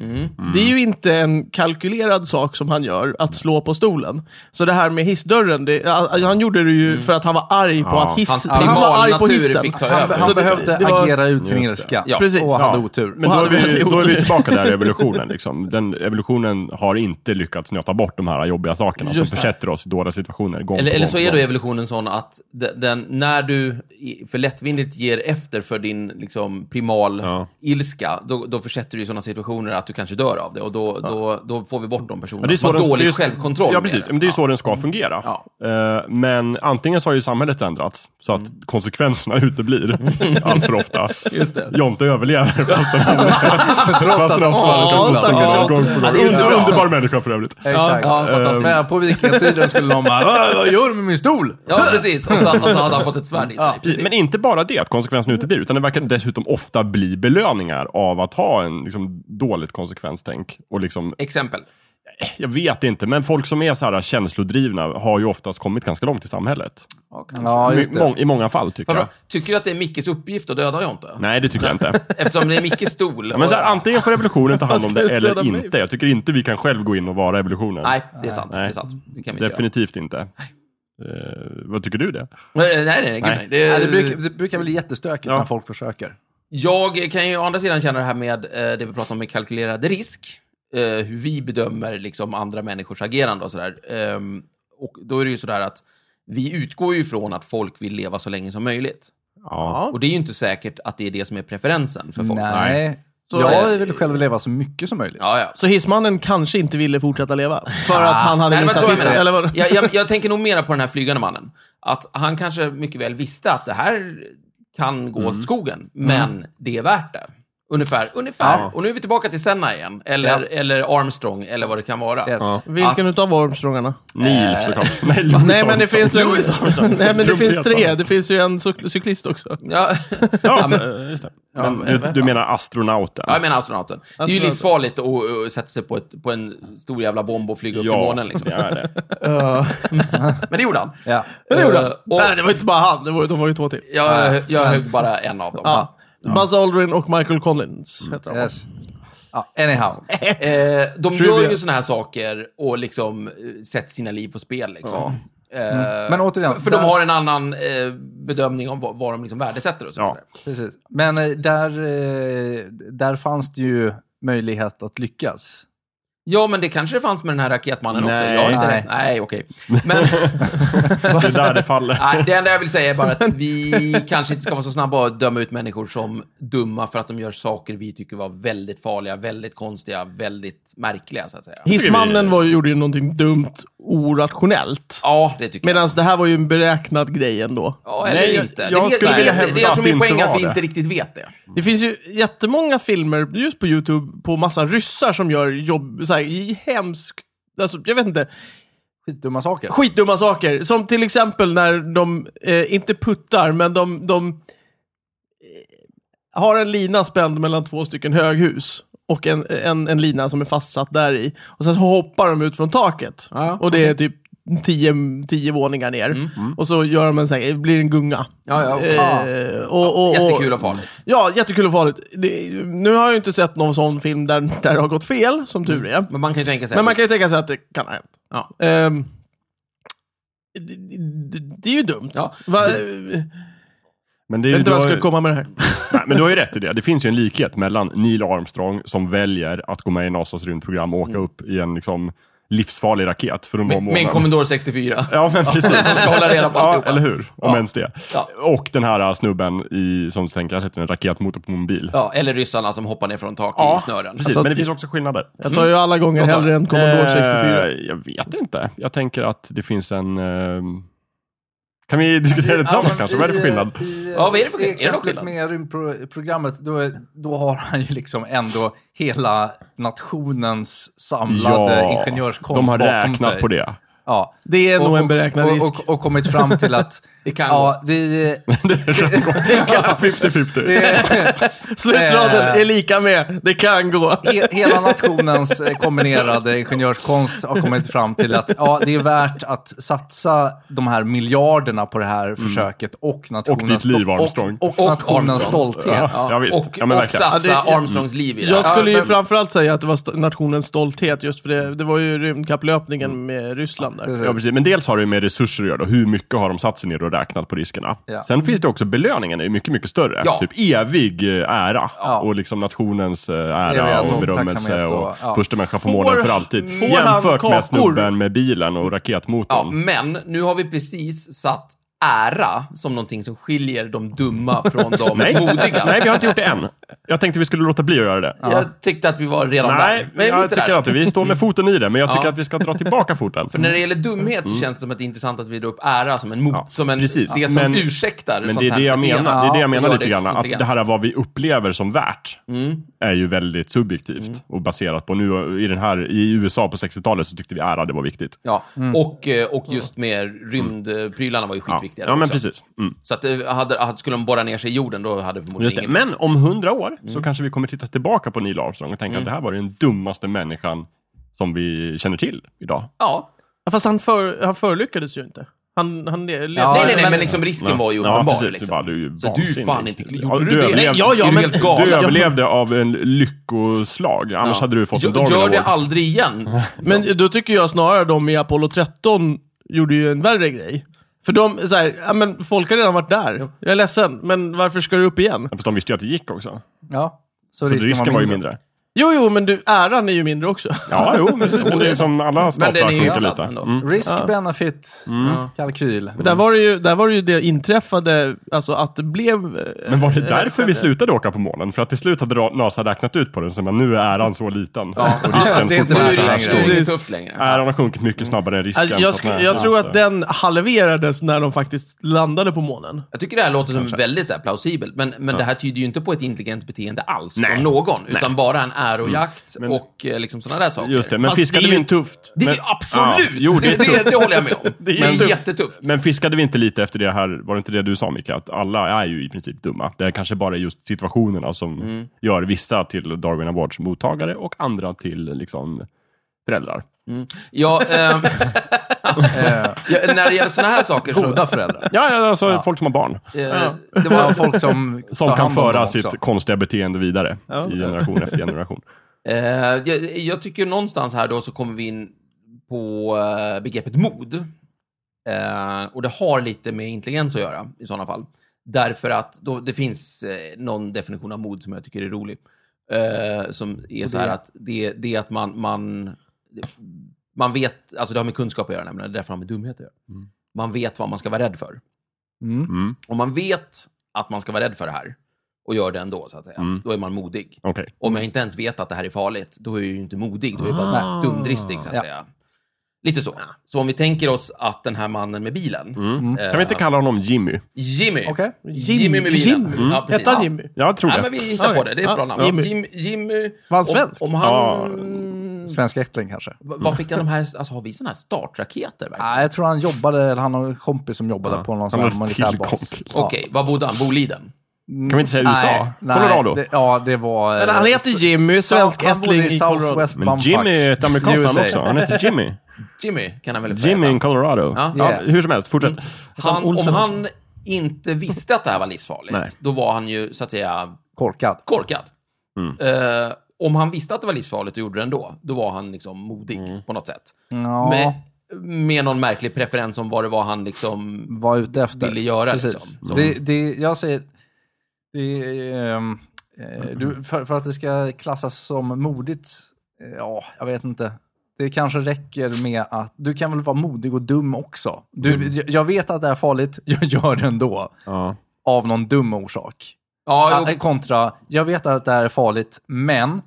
Speaker 1: Det är ju inte en kalkylerad sak som han gör, att slå på stolen. Så det här med hissdörren, det, a- a- han gjorde det ju för att han var arg på
Speaker 3: Ja.
Speaker 1: att hiss,
Speaker 2: Hans
Speaker 1: han var arg på
Speaker 2: primalnatur
Speaker 1: hissen.
Speaker 2: fick ta
Speaker 4: Han,
Speaker 2: över.
Speaker 4: han
Speaker 1: Så det-
Speaker 4: behövde
Speaker 1: det var-
Speaker 4: agera ut sin
Speaker 3: Just det.
Speaker 4: ilska
Speaker 2: Ja.
Speaker 1: Precis.
Speaker 4: och hade
Speaker 3: Ja.
Speaker 4: otur.
Speaker 3: Men då
Speaker 1: Och
Speaker 3: är,
Speaker 1: hade
Speaker 3: vi,
Speaker 1: väldigt
Speaker 3: då är vi
Speaker 1: otur.
Speaker 3: tillbaka där i evolutionen. Liksom. Den, evolutionen har inte lyckats nöta bort de här jobbiga sakerna
Speaker 1: Just
Speaker 3: som
Speaker 1: det.
Speaker 3: försätter oss i dåliga situationer gång
Speaker 2: Eller,
Speaker 3: på
Speaker 2: eller
Speaker 3: gång
Speaker 2: så
Speaker 3: på
Speaker 2: är då
Speaker 3: gång.
Speaker 2: evolutionen sån att de- den, när du i- för lättvindigt ger efter för din liksom, primal
Speaker 3: Ja.
Speaker 2: ilska, då, då försätter du i sådana situationer att du kanske dör av det. Och då, då, då får vi bort de
Speaker 3: Ja,
Speaker 2: personerna
Speaker 3: det är
Speaker 2: som
Speaker 3: så
Speaker 2: har
Speaker 3: den,
Speaker 2: dålig
Speaker 3: det är,
Speaker 2: självkontroll.
Speaker 3: Ja,
Speaker 2: med
Speaker 3: precis.
Speaker 2: det.
Speaker 3: Men det är så den ska fungera.
Speaker 2: Ja.
Speaker 3: Eh, Men antingen så har ju samhället ändrats, så att konsekvenserna uteblir allt för ofta.
Speaker 2: Mm. Just det.
Speaker 3: Jonte överlever fast han fast han svarar sig
Speaker 1: Ja,
Speaker 3: på
Speaker 1: ja.
Speaker 3: stolen gång på gång.
Speaker 2: Ja, det är inte bra.
Speaker 3: Underbar människa för övrigt.
Speaker 4: Exakt.
Speaker 3: ehm.
Speaker 2: Ja, fantastiskt.
Speaker 4: Men på vikingatiden skulle någon bara, "Vad- vad gör du med min stol?
Speaker 2: Ja, precis. Och så, och så hade han fått ett svärd i sig. precis.
Speaker 3: Men inte bara det, att konsekvenserna uteblir, utan det verkar dessutom ofta bli belöningar av att ha en liksom, dåligt konsekvenstänk. Och liksom,
Speaker 2: Exempel.
Speaker 3: jag vet inte, men folk som är så här känslodrivna har ju oftast kommit ganska långt i samhället.
Speaker 4: Ja, just
Speaker 3: My-
Speaker 4: det.
Speaker 3: mång- I många fall, tycker jag.
Speaker 2: Varför? Tycker du att det är Mickes uppgift att döda Jonte?
Speaker 3: Nej, det tycker jag inte.
Speaker 2: Eftersom det är Mickes stol.
Speaker 3: Ja, Men så här,
Speaker 2: och-
Speaker 3: antingen får evolutionen ta hand om
Speaker 1: Vad
Speaker 3: det
Speaker 1: ska jag
Speaker 3: eller
Speaker 1: döda mig
Speaker 3: inte. Jag tycker inte vi kan själv gå in och vara evolutionen.
Speaker 2: Nej, det är sant.
Speaker 3: Nej.
Speaker 2: Det är sant. Det kan vi inte
Speaker 3: Definitivt inte. Eh, vad tycker du det?
Speaker 2: göra. Nej, nej, nej. gud, nej. Det,
Speaker 4: Ja, det, brukar, det brukar bli jättestökigt när folk försöker.
Speaker 2: Jag kan ju å andra sidan känna det här med eh, det vi pratade om med kalkylerad risk. Eh, hur vi bedömer liksom, andra människors agerande och sådär. Ehm, och då är det ju sådär att vi utgår ju från att folk vill leva så länge som möjligt.
Speaker 3: Ja.
Speaker 2: Och det är ju inte säkert att det är det som är preferensen för folk.
Speaker 4: Nej.
Speaker 2: Så-
Speaker 4: jag vill själv leva så mycket som möjligt.
Speaker 2: Ja, ja.
Speaker 1: Så hissmannen kanske inte ville fortsätta leva? För att han hade
Speaker 2: Nej, men
Speaker 1: missat
Speaker 2: så jag,
Speaker 1: hissen?
Speaker 2: menar.
Speaker 1: Eller vad?
Speaker 2: jag, jag, jag tänker nog mera på den här flygande mannen. Att han kanske mycket väl visste att det här kan gå
Speaker 1: Mm.
Speaker 2: åt skogen, men det är värt det. Ungefär. ungefär.
Speaker 4: Ja.
Speaker 2: Och nu är vi tillbaka till Senna igen, eller,
Speaker 4: Ja.
Speaker 2: eller Armstrong, eller vad det kan vara.
Speaker 4: Yes.
Speaker 3: Ja.
Speaker 1: Vilken utav Armstrongarna?
Speaker 3: Neil såklart. Nej, Louis
Speaker 1: Nej men det
Speaker 3: Armstrong.
Speaker 1: finns, en, nej, men det finns tre.
Speaker 3: Trumpetaren.
Speaker 1: Det finns ju en cykl- cyklist också.
Speaker 2: Ja.
Speaker 3: Ja, men, eh, just det. Men,
Speaker 2: men-
Speaker 3: du, du menar astronauten?
Speaker 2: Ja, jag menar astronauten. Det är ju
Speaker 1: Astronauten.
Speaker 2: livsfarligt att och, och sätta sig på, ett, på en stor jävla bomb och flyga upp i månen. Liksom.
Speaker 3: det är det.
Speaker 2: Men det gjorde han.
Speaker 4: Ja.
Speaker 1: Ja, det gjorde han.
Speaker 2: Eh, och
Speaker 1: Nej, det var ju inte bara han. Det var, de var ju två till.
Speaker 2: jag, jag högg bara en av dem.
Speaker 1: Ja. Buzz Aldrin och Michael Collins heter de.
Speaker 4: Yes. Ja, anyhow.
Speaker 2: Eh, de
Speaker 1: Trivia.
Speaker 2: gör ju såna här saker och liksom eh, sätter sina liv på spel. Liksom. Eh,
Speaker 3: Mm.
Speaker 4: Men återigen,
Speaker 2: För
Speaker 4: där-
Speaker 2: de har en annan eh, bedömning om vad, vad de liksom värdesätter och så
Speaker 3: Ja.
Speaker 2: vidare.
Speaker 4: Precis. Men eh, där, eh, där fanns det ju möjlighet att lyckas.
Speaker 2: Ja, men det kanske det fanns med den här raketmannen också.
Speaker 3: Nej.
Speaker 2: Jag har inte
Speaker 4: Nej.
Speaker 2: rätt. Nej, okej. Men
Speaker 3: Det är där det faller.
Speaker 2: nej, det enda jag vill säga är bara att vi kanske inte ska vara så snabba att döma ut människor som dumma för att de gör saker vi tycker var väldigt farliga, väldigt konstiga, väldigt märkliga, så att säga.
Speaker 1: Hissmannen
Speaker 3: vi-
Speaker 1: var, ju- gjorde ju någonting dumt, orationellt.
Speaker 2: Ja, det tycker jag.
Speaker 1: Medan det här var ju en beräknad grej ändå.
Speaker 2: Ja, eller
Speaker 3: Nej,
Speaker 2: inte.
Speaker 3: jag
Speaker 2: det,
Speaker 3: skulle
Speaker 2: det,
Speaker 3: vilja
Speaker 2: det,
Speaker 3: hävda
Speaker 2: det, jag tror
Speaker 3: att
Speaker 2: min
Speaker 3: det inte
Speaker 2: poäng är att
Speaker 3: var
Speaker 2: vi
Speaker 3: det.
Speaker 2: inte riktigt vet det.
Speaker 1: Det finns ju jättemånga filmer, just på YouTube, på massa ryssar som gör jobb, så här, i hemskt, alltså jag vet inte,
Speaker 4: Skitdumma saker.
Speaker 1: skitdumma saker. Som till exempel när de, eh, inte puttar, men de, de eh, har en lina spänd mellan två stycken höghus. och en, en, en lina som är fastsatt där i. Och sen så hoppar de ut från taket.
Speaker 2: Ja, Mm,
Speaker 1: och det är typ tio, tio våningar ner. Och så gör de en sån här, det blir en gunga.
Speaker 2: Ja, ja, okej.
Speaker 1: Eh, och, och, och,
Speaker 2: Jättekul och farligt.
Speaker 1: Ja, jättekul och farligt. Det, nu har jag ju inte sett någon sån film där, där det har gått fel, som tur är.
Speaker 2: Men man kan ju tänka sig...
Speaker 1: Men man kan ju tänka sig att det kan ha hänt.
Speaker 2: Ja.
Speaker 1: Ehm, det, det, det är ju dumt.
Speaker 2: Ja.
Speaker 1: Va,
Speaker 3: Men det är
Speaker 1: jag vet inte
Speaker 3: ju,
Speaker 1: vad jag
Speaker 3: du, har,
Speaker 1: skulle komma med det här.
Speaker 3: nej, men du har ju rätt i det. Det finns ju en likhet mellan Neil Armstrong som väljer att gå med i NASAs rymdprogram och åka upp i en liksom, livsfarlig raket för att nå
Speaker 2: Mm. Med, med en
Speaker 3: månen.
Speaker 2: Commodore 64.
Speaker 3: Ja, men precis.
Speaker 2: Som ska hålla reda på
Speaker 3: ja,
Speaker 2: alltihopa.
Speaker 3: eller hur? Om ens det.
Speaker 2: Ja.
Speaker 3: Och den här äh, snubben i, som tänker jag sätter en raketmotor på min bil.
Speaker 2: Ja, eller ryssarna som hoppar ner från taket i snören.
Speaker 3: precis.
Speaker 1: Alltså,
Speaker 3: men det finns också skillnader.
Speaker 1: Jag tar ju alla gånger
Speaker 2: Vad tar
Speaker 1: hellre
Speaker 2: du?
Speaker 1: en Commodore 64.
Speaker 3: Eh, jag vet inte. Jag tänker att det finns en... eh, kan vi diskutera det tillsammans kanske? Vad är det för skillnad?
Speaker 2: Ja, vad är det för skillnad? Är det någon
Speaker 4: exemplet
Speaker 2: skillnad?
Speaker 4: med rymdprogrammet, då, är- då har han ju liksom ändå hela nationens samlade ingenjörskonst
Speaker 3: de har
Speaker 4: bakom sig.
Speaker 3: räknat på det.
Speaker 4: Ja.
Speaker 1: Det är nog en beräknad
Speaker 4: och,
Speaker 1: risk.
Speaker 4: Och, och, kommit fram till att...
Speaker 2: Det kan
Speaker 4: ja, det,
Speaker 3: 50-50.
Speaker 1: Slutraden
Speaker 4: Eh.
Speaker 1: är lika med, det kan gå.
Speaker 4: he, hela nationens eh, kombinerade ingenjörskonst har kommit fram till att ja, det är värt att satsa de här miljarderna på det här försöket och nationens...
Speaker 3: Mm. Och ditt liv,
Speaker 4: och-
Speaker 3: Armstrong.
Speaker 4: Och, och nationens
Speaker 2: Armstrong.
Speaker 4: stolthet.
Speaker 3: Ja, visst.
Speaker 2: Och,
Speaker 3: Ja, men
Speaker 2: och
Speaker 3: verkligen.
Speaker 2: satsa
Speaker 1: Ja, det-
Speaker 2: Armstrongs liv i det
Speaker 1: Jag
Speaker 2: här.
Speaker 1: skulle ju
Speaker 4: men-
Speaker 1: framförallt säga att det var st- nationens stolthet, just för det, det var ju rymdkapplöpningen med Ryssland där.
Speaker 4: Precis.
Speaker 3: Ja, precis. Men dels har det ju med resurser att göra. Då. Hur mycket har de satt sig ner och räknat på riskerna?
Speaker 4: Ja.
Speaker 3: Sen finns det också belöningen, är ju mycket, mycket större.
Speaker 2: Ja.
Speaker 3: Typ evig eh, ära
Speaker 4: Ja.
Speaker 3: och liksom nationens eh,
Speaker 4: Eviga
Speaker 3: ära och berömmelse
Speaker 4: tacksamhet
Speaker 3: och,
Speaker 4: och- ja.
Speaker 3: första människan på
Speaker 1: Får-
Speaker 3: månen för alltid.
Speaker 1: får han
Speaker 3: Jämfört
Speaker 1: kakor?
Speaker 3: med snubben med bilen och raketmotorn.
Speaker 2: Ja, men nu har vi precis satt ära som någonting som skiljer de dumma från de
Speaker 3: Nej.
Speaker 2: modiga.
Speaker 3: Nej, vi har inte gjort det än. Jag tänkte vi skulle låta bli att göra det.
Speaker 2: Jag tyckte att vi var redan
Speaker 3: Nej,
Speaker 2: där. Men vi är
Speaker 3: jag
Speaker 2: inte
Speaker 3: tycker
Speaker 2: där.
Speaker 3: att vi står med foten i det, men jag tycker
Speaker 2: Ja.
Speaker 3: att vi ska dra tillbaka foten.
Speaker 2: För när det gäller dumhet så känns det som att det är intressant att vi drar upp ära som en mot,
Speaker 3: Mm. Ja,
Speaker 2: som en,
Speaker 3: precis.
Speaker 2: det som
Speaker 3: Men-
Speaker 2: ursäktar
Speaker 3: Men
Speaker 2: sånt
Speaker 3: det är
Speaker 2: här
Speaker 3: det jag
Speaker 2: beteende.
Speaker 3: menar, det är det jag menar
Speaker 2: och gör
Speaker 3: lite grann. Att
Speaker 2: intelligent. Mm.
Speaker 3: det här är vad vi upplever som värt är ju väldigt subjektivt och baserat på nu i den här, i USA på 60-talet så tyckte vi ära det var viktigt.
Speaker 2: Ja, och, eh, och just med rymdprylarna var ju
Speaker 3: Mm. Ja,
Speaker 2: skitviktiga.
Speaker 3: ja men
Speaker 2: också.
Speaker 3: precis. Mm.
Speaker 2: Så att, eh, hade, hade, skulle de borra ner sig i jorden, då hade
Speaker 3: Just
Speaker 2: förmodligen
Speaker 3: det.
Speaker 2: ingen...
Speaker 3: Men om hundra år
Speaker 2: Mm.
Speaker 3: så kanske vi kommer titta tillbaka på Neil Armstrong och tänka att det här var den dummaste människan som vi känner till idag.
Speaker 2: Ja.
Speaker 1: Ja, Fast han, för, han förlyckades ju inte. Han, han le- levde.
Speaker 2: nej, nej, nej,
Speaker 4: men-
Speaker 2: men, liksom risken var ju
Speaker 3: ja,
Speaker 2: uppenbar.
Speaker 3: precis.
Speaker 2: liksom.
Speaker 3: Du bara, du är ju
Speaker 2: Så du är
Speaker 3: vansinnig.
Speaker 2: fan inte...
Speaker 3: Ja,
Speaker 2: Gjorde
Speaker 3: du,
Speaker 2: du det?
Speaker 3: överlevde,
Speaker 2: Nej, ja, ja,
Speaker 1: är du
Speaker 2: men...
Speaker 1: helt
Speaker 3: du
Speaker 1: galen?
Speaker 3: överlevde av en lyckoslag, annars
Speaker 2: Ja.
Speaker 3: hade du fått en
Speaker 2: Gör-
Speaker 3: Darwin
Speaker 2: Gör det
Speaker 3: Award.
Speaker 2: aldrig igen.
Speaker 1: Men då tycker jag snarare de i Apollo 13 gjorde ju en värre grej. För de, så här, ja, men folk har redan varit där. Jag är ledsen, men varför ska du upp igen?
Speaker 3: Fast de visste ju att det gick också.
Speaker 4: Ja. Så,
Speaker 3: Så risken var ju mindre.
Speaker 1: Jo, jo, men du, äran är ju mindre också.
Speaker 3: Ja, jo, men det, det är som alla
Speaker 2: Men
Speaker 3: staplar
Speaker 2: den är ju
Speaker 3: sjunker
Speaker 2: hyfsad
Speaker 3: lite.
Speaker 2: ändå.
Speaker 3: Mm.
Speaker 4: risk-benefit-kalkyl.
Speaker 1: Där var, det ju, där var det ju det inträffade, alltså att det blev... eh,
Speaker 3: Men var det därför vi slutade åka på månen? För att till slut hade Ra- NASA räknat ut på den, så man, nu är äran så liten. Och risken
Speaker 4: det är inte
Speaker 2: Nu
Speaker 3: fortfarande
Speaker 2: är
Speaker 3: så
Speaker 1: längre.
Speaker 2: det inte-
Speaker 3: här stor.
Speaker 2: det är
Speaker 1: Precis.
Speaker 2: inte tufft längre.
Speaker 3: Äran har sjunkit mycket snabbare än risken.
Speaker 1: Alltså,
Speaker 3: så
Speaker 1: jag,
Speaker 3: att
Speaker 1: sku,
Speaker 3: man-
Speaker 1: jag tror
Speaker 3: alltså,
Speaker 1: att den halverades när de faktiskt landade på månen.
Speaker 2: Jag tycker det här låter som väldigt så här, plausibelt, men, men det här tyder ju inte på ett intelligent beteende alls
Speaker 3: Nej. Mm.
Speaker 2: från någon, utan bara en ärojakt
Speaker 3: Men-
Speaker 2: och eh, liksom sådana där saker.
Speaker 3: Just det, men
Speaker 1: Fast
Speaker 3: fiskade
Speaker 1: det är
Speaker 3: vi
Speaker 1: ju
Speaker 3: inte...
Speaker 1: tufft.
Speaker 2: Det är
Speaker 3: Men-
Speaker 2: absolut!
Speaker 3: Ja, jo, det är
Speaker 2: det, det,
Speaker 3: tufft.
Speaker 2: det håller jag med om.
Speaker 3: Det
Speaker 2: Det
Speaker 3: är
Speaker 2: är, men,
Speaker 3: tufft.
Speaker 2: jättetufft.
Speaker 3: Men fiskade vi inte lite efter det här, var det inte det du sa Micke? Att alla är ju i princip dumma. Det är kanske bara just situationerna som gör vissa till Darwin Awards mottagare och andra till liksom föräldrar.
Speaker 2: Ja, ehm,
Speaker 4: Eh,
Speaker 2: ja, när det gäller såna här saker så...
Speaker 4: goda föräldrar.
Speaker 3: Ja, ja alltså folk som har barn.
Speaker 2: Eh, det
Speaker 4: Det var
Speaker 2: var,
Speaker 4: folk som
Speaker 3: Som
Speaker 4: tar
Speaker 3: kan
Speaker 4: hand om dem
Speaker 3: föra
Speaker 4: också.
Speaker 3: sitt konstiga beteende vidare i generation efter generation.
Speaker 2: eh, jag, jag tycker någonstans här då så kommer vi in på eh, begreppet mod. Eh, och det har lite med intelligens att göra i sådana fall. Därför att då, det finns eh, någon definition av mod som jag tycker är rolig. Eh, som är så här att det, det är att man, man, man vet, alltså det har med kunskap att göra nämligen, det är därför det har med dumhet att göra. Man vet vad man ska vara rädd för.
Speaker 4: Mm.
Speaker 3: Mm,
Speaker 2: Om man vet att man ska vara rädd för det här och gör det ändå, så att säga,
Speaker 3: Mm.
Speaker 2: då är man modig.
Speaker 3: Okej.
Speaker 2: Om jag inte ens vet att det här är farligt, då är jag ju inte modig. Då är jag
Speaker 3: Ah.
Speaker 2: bara dumdristig, så att
Speaker 4: Ja.
Speaker 2: säga. Lite så. Så om vi tänker oss att den här mannen med bilen,
Speaker 3: Mm.
Speaker 2: eh,
Speaker 3: Kan vi inte kalla honom Jimmy?
Speaker 2: Jimmy.
Speaker 4: Okej.
Speaker 2: Jimmy, med bilen.
Speaker 1: Jimmy?
Speaker 2: Ja, precis.
Speaker 1: Hette han Jimmy?
Speaker 3: Jag tror
Speaker 2: Nej,
Speaker 3: det.
Speaker 2: men vi hittar på det. Det är ett bra
Speaker 1: Ja,
Speaker 2: namn.
Speaker 1: Jimmy.
Speaker 2: Jim, Jimmy.
Speaker 1: Var han
Speaker 2: om-
Speaker 1: svensk?
Speaker 2: Om, han...
Speaker 3: Ja.
Speaker 4: Svensk ättling kanske.
Speaker 2: Va- Vad fick han de här... Alltså, har vi såna här startraketer? verkligen?
Speaker 1: Ah.
Speaker 4: Nej, jag tror han jobbade, eller han har en kompis som jobbade på någon sån
Speaker 3: Han
Speaker 4: här
Speaker 3: har
Speaker 4: militärbas.
Speaker 3: tillkompis.
Speaker 4: Ja.
Speaker 2: Okej, var bodde han? Boliden?
Speaker 3: Kan vi inte säga USA? Colorado?
Speaker 4: Det, ja, det var... eh,
Speaker 1: Men han heter Jimmy, svensk
Speaker 4: han bodde
Speaker 1: ättling
Speaker 4: i
Speaker 1: i Colorado.
Speaker 4: Southwest
Speaker 3: Men Jimmy är ett amerikanskt
Speaker 4: USA.
Speaker 3: namn också. Han heter Jimmy.
Speaker 2: Jimmy kan han väl få
Speaker 3: Jimmy
Speaker 2: heta.
Speaker 3: in Colorado.
Speaker 2: Ja.
Speaker 3: Ja.
Speaker 4: Yeah.
Speaker 3: hur som helst, fortsätt.
Speaker 2: han, Om
Speaker 1: Olsen.
Speaker 2: han inte visste att det här var livsfarligt,
Speaker 3: Nej.
Speaker 2: då var han ju så att säga
Speaker 4: Korkad.
Speaker 2: korkad. Eh, om han visste att det var livsfarligt och gjorde det ändå, då var han liksom modig på något sätt.
Speaker 4: Ja,
Speaker 2: Med, med någon märklig preferens om vad det var han liksom...
Speaker 4: var ute efter.
Speaker 2: ville göra,
Speaker 4: Precis.
Speaker 2: liksom. Så-
Speaker 4: Det, det, jag säger... Det, ehm, eh, du, för, för att det ska klassas som modigt, eh, ja, jag vet inte. Det kanske räcker med att du kan väl vara modig och dum också. Du, jag- Jag vet att det är farligt, jag gör det ändå.
Speaker 3: Ja.
Speaker 4: Av någon dum orsak.
Speaker 2: Ja,
Speaker 4: Ah,
Speaker 2: jo,
Speaker 4: Kontra, jag vet att det här är farligt, men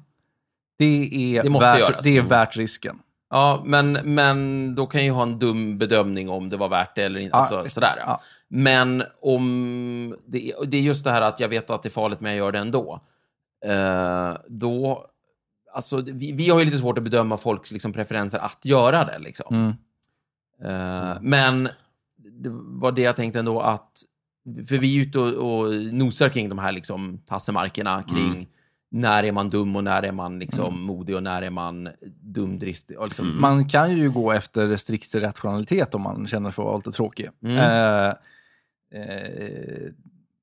Speaker 4: det är,
Speaker 2: Det måste
Speaker 4: värt,
Speaker 2: göras.
Speaker 4: det är värt risken.
Speaker 2: ja men, men då kan ju ha en dum bedömning om det var värt det eller inte.
Speaker 4: Ja,
Speaker 2: Alltså,
Speaker 4: visst.
Speaker 2: sådär.
Speaker 4: Ja.
Speaker 2: Men om... Det, är- och det är just det här att jag vet att det är farligt men jag gör det ändå. Eh, då... Alltså, vi, vi har ju lite svårt att bedöma folks liksom, preferenser att göra det. Liksom.
Speaker 4: Mm.
Speaker 2: Eh, men det var det jag tänkte ändå att, för vi är ute och, och nosar kring de här liksom, tassemarkerna kring när är man dum och när är man liksom, modig och när är man dumdristig. Och liksom,
Speaker 4: Man kan ju gå efter strikt rationalitet om man känner för att vara lite tråkig.
Speaker 2: Mm.
Speaker 4: Eh, eh,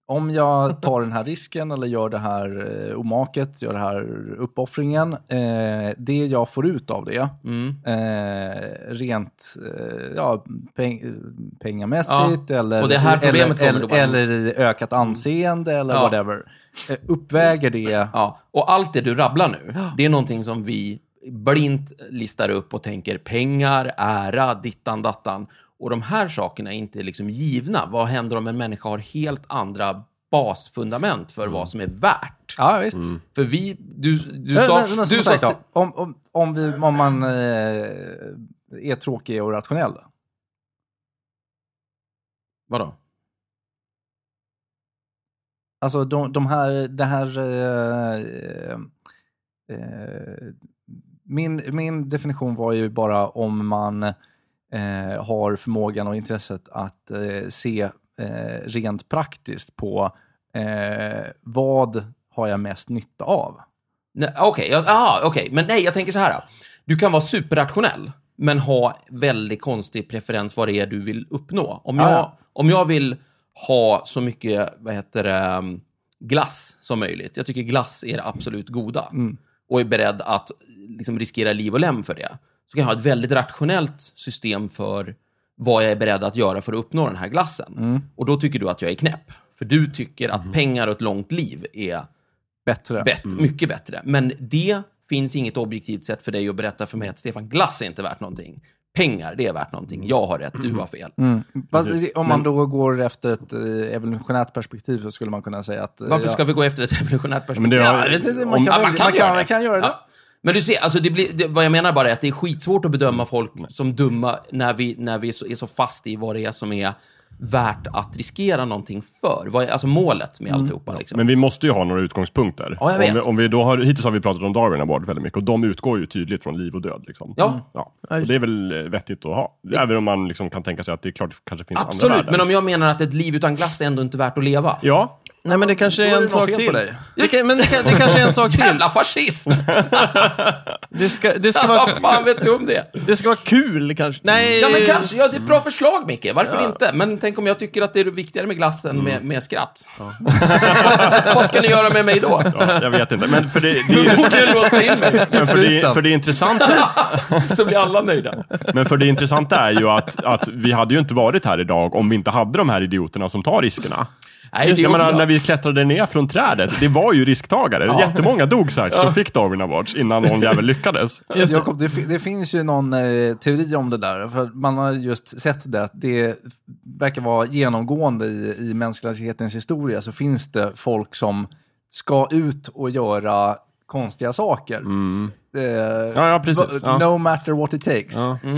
Speaker 4: om jag tar den här risken eller gör det här eh, omaket, gör det här uppoffringen, eh, det jag får ut av det,
Speaker 2: Mm.
Speaker 4: eh, rent eh, ja, peng, pengamässigt eller,
Speaker 2: och det här problemet
Speaker 4: eller,
Speaker 2: kommer då bara- Mm.
Speaker 4: eller, eller i ökat anseende eller
Speaker 2: Ja.
Speaker 4: whatever, eh, uppväger det
Speaker 2: Ja, och allt det du rabblar nu, det är någonting som vi blint listar upp och tänker pengar, ära, dittan, dattan. Och de här sakerna är inte liksom givna. Vad händer om en människa har helt andra basfundament
Speaker 4: Mm.
Speaker 2: för vad som är värt?
Speaker 4: Ja, visst.
Speaker 2: För vi, du, du
Speaker 4: Men-
Speaker 2: sa...
Speaker 4: men, men, som
Speaker 2: du sa
Speaker 4: sagt,
Speaker 2: att-
Speaker 4: om, om, om, vi, om man eh, är tråkig och rationell.
Speaker 2: Vadå?
Speaker 4: Alltså de, de här, det här... Eh, eh, min, min definition var ju bara om man eh, har förmågan och intresset att eh, se eh, rent praktiskt på eh, vad har jag mest nytta av?
Speaker 2: Nej, Okej, ja, aha, okej. men nej, jag tänker så här. Du kan vara superrationell, men ha väldigt konstig preferens vad det är du vill uppnå. Om jag,
Speaker 4: Ja, ja.
Speaker 2: om jag vill ha så mycket vad heter det, um, glass som möjligt. Jag tycker glass är det absolut goda
Speaker 4: Mm.
Speaker 2: och är beredd att liksom, riskera liv och lem för det. Så kan jag ha ett väldigt rationellt system för vad jag är beredd att göra för att uppnå den här glassen.
Speaker 4: Mm.
Speaker 2: Och då tycker du att jag är knäpp. För du tycker att
Speaker 4: Mhm.
Speaker 2: pengar och ett långt liv är
Speaker 4: Bättre.
Speaker 2: bett, mycket bättre. Men det finns inget objektivt sätt för dig att berätta för mig att Stefan Glass är inte värt någonting. Pengar, det är värt någonting. Jag har rätt, du har fel.
Speaker 4: Mm. Fast
Speaker 3: Precis.
Speaker 4: Om man då går efter ett eh, evolutionärt perspektiv så skulle man kunna säga att... eh,
Speaker 2: Varför
Speaker 4: ja,
Speaker 2: ska vi gå efter ett evolutionärt
Speaker 3: Men
Speaker 2: perspektiv?
Speaker 3: det har,
Speaker 4: jag vet inte, man
Speaker 3: om,
Speaker 4: kan-
Speaker 2: Ja, man kan,
Speaker 4: man kan-
Speaker 2: göra det.
Speaker 4: man kan göra det.
Speaker 2: Ja. Men du ser, alltså det blir, det, vad jag menar bara är att det är skitsvårt att bedöma folk som dumma när vi, när vi är, så, är så fast i vad det är som är värt att riskera någonting för. Vad är, alltså målet med alltihopa. Liksom.
Speaker 3: Men vi måste ju ha några utgångspunkter.
Speaker 2: Ja, jag vet.
Speaker 3: Om vi, om vi då har, hittills har vi pratat om Darwin Award väldigt mycket och de utgår ju tydligt från liv och död. Liksom.
Speaker 2: Ja.
Speaker 3: Och det är väl eh, vettigt att ha. Även om man liksom kan tänka sig att det är klart det kanske finns andra
Speaker 2: Absolut,
Speaker 3: värden.
Speaker 2: men om jag menar att ett liv utan glass är ändå inte värt att leva.
Speaker 3: Ja,
Speaker 1: Nej, men det kanske
Speaker 4: Då
Speaker 1: är
Speaker 4: är det
Speaker 1: en
Speaker 4: något
Speaker 1: sak
Speaker 4: fel på
Speaker 1: till.
Speaker 4: dig.
Speaker 1: Det, kan, men det, kan, det kanske är en sak till.
Speaker 2: Jävla fascist!
Speaker 1: Det ska, det ska, vara,
Speaker 2: Vad fan vet du om det?
Speaker 1: det ska vara kul kanske. Nej,
Speaker 2: Ja, men kanske. Ja, det är ett bra förslag, Micke. Varför inte? Men tänk om jag tycker att det är viktigare med glass än med, med skratt. Vad ska ni göra med mig då?
Speaker 3: ja, jag vet inte. Men för det, det, är-
Speaker 2: Borde jag låsa in mig?
Speaker 3: men för det,
Speaker 4: frysen.
Speaker 3: för det intressanta
Speaker 2: Så blir alla nöjda.
Speaker 3: Men för det intressanta är ju att, att vi hade ju inte varit här idag om vi inte hade de här idioterna som tar riskerna.
Speaker 2: Nej, det är
Speaker 3: Jag menar,
Speaker 2: också...
Speaker 3: när vi klättrade ner från trädet, det var ju risktagare. Jättemånga dog säkert som fick Darwin Awards innan någon jävel lyckades.
Speaker 4: Jakob, det, fi- det finns ju någon eh, teori om det där. För man har just sett det, att det verkar vara genomgående i, i mänsklighetens historia. Så finns det folk som ska ut och göra konstiga saker. Eh,
Speaker 3: Mm. Ja, ja, precis.
Speaker 4: va-
Speaker 3: Ja.
Speaker 4: No matter what it takes.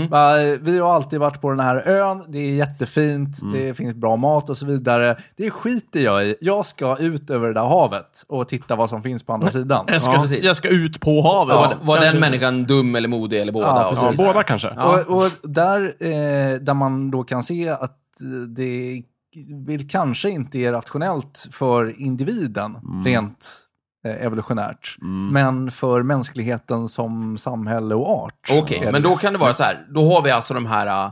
Speaker 4: Va, vi har alltid varit på den här ön, det är jättefint,
Speaker 3: Mm.
Speaker 4: det finns bra mat och så vidare. Det skiter jag i. Jag ska ut över det där havet och titta vad som finns på andra sidan.
Speaker 1: Jag ska,
Speaker 2: Ja, precis.
Speaker 1: jag ska ut på havet.
Speaker 2: Var, var
Speaker 1: Kanske.
Speaker 2: den människan dum eller modig eller båda?
Speaker 4: Ja,
Speaker 2: och så
Speaker 3: Ja,
Speaker 2: vidare.
Speaker 3: båda kanske.
Speaker 2: Ja.
Speaker 4: Och, och där, eh, där man då kan se att eh, det vill kanske inte är rationellt för individen,
Speaker 2: Mm.
Speaker 4: rent eh, evolutionärt. Men för mänskligheten som samhälle och art.
Speaker 2: Okej,
Speaker 4: är
Speaker 2: men då kan det vara så här. Då har vi alltså de här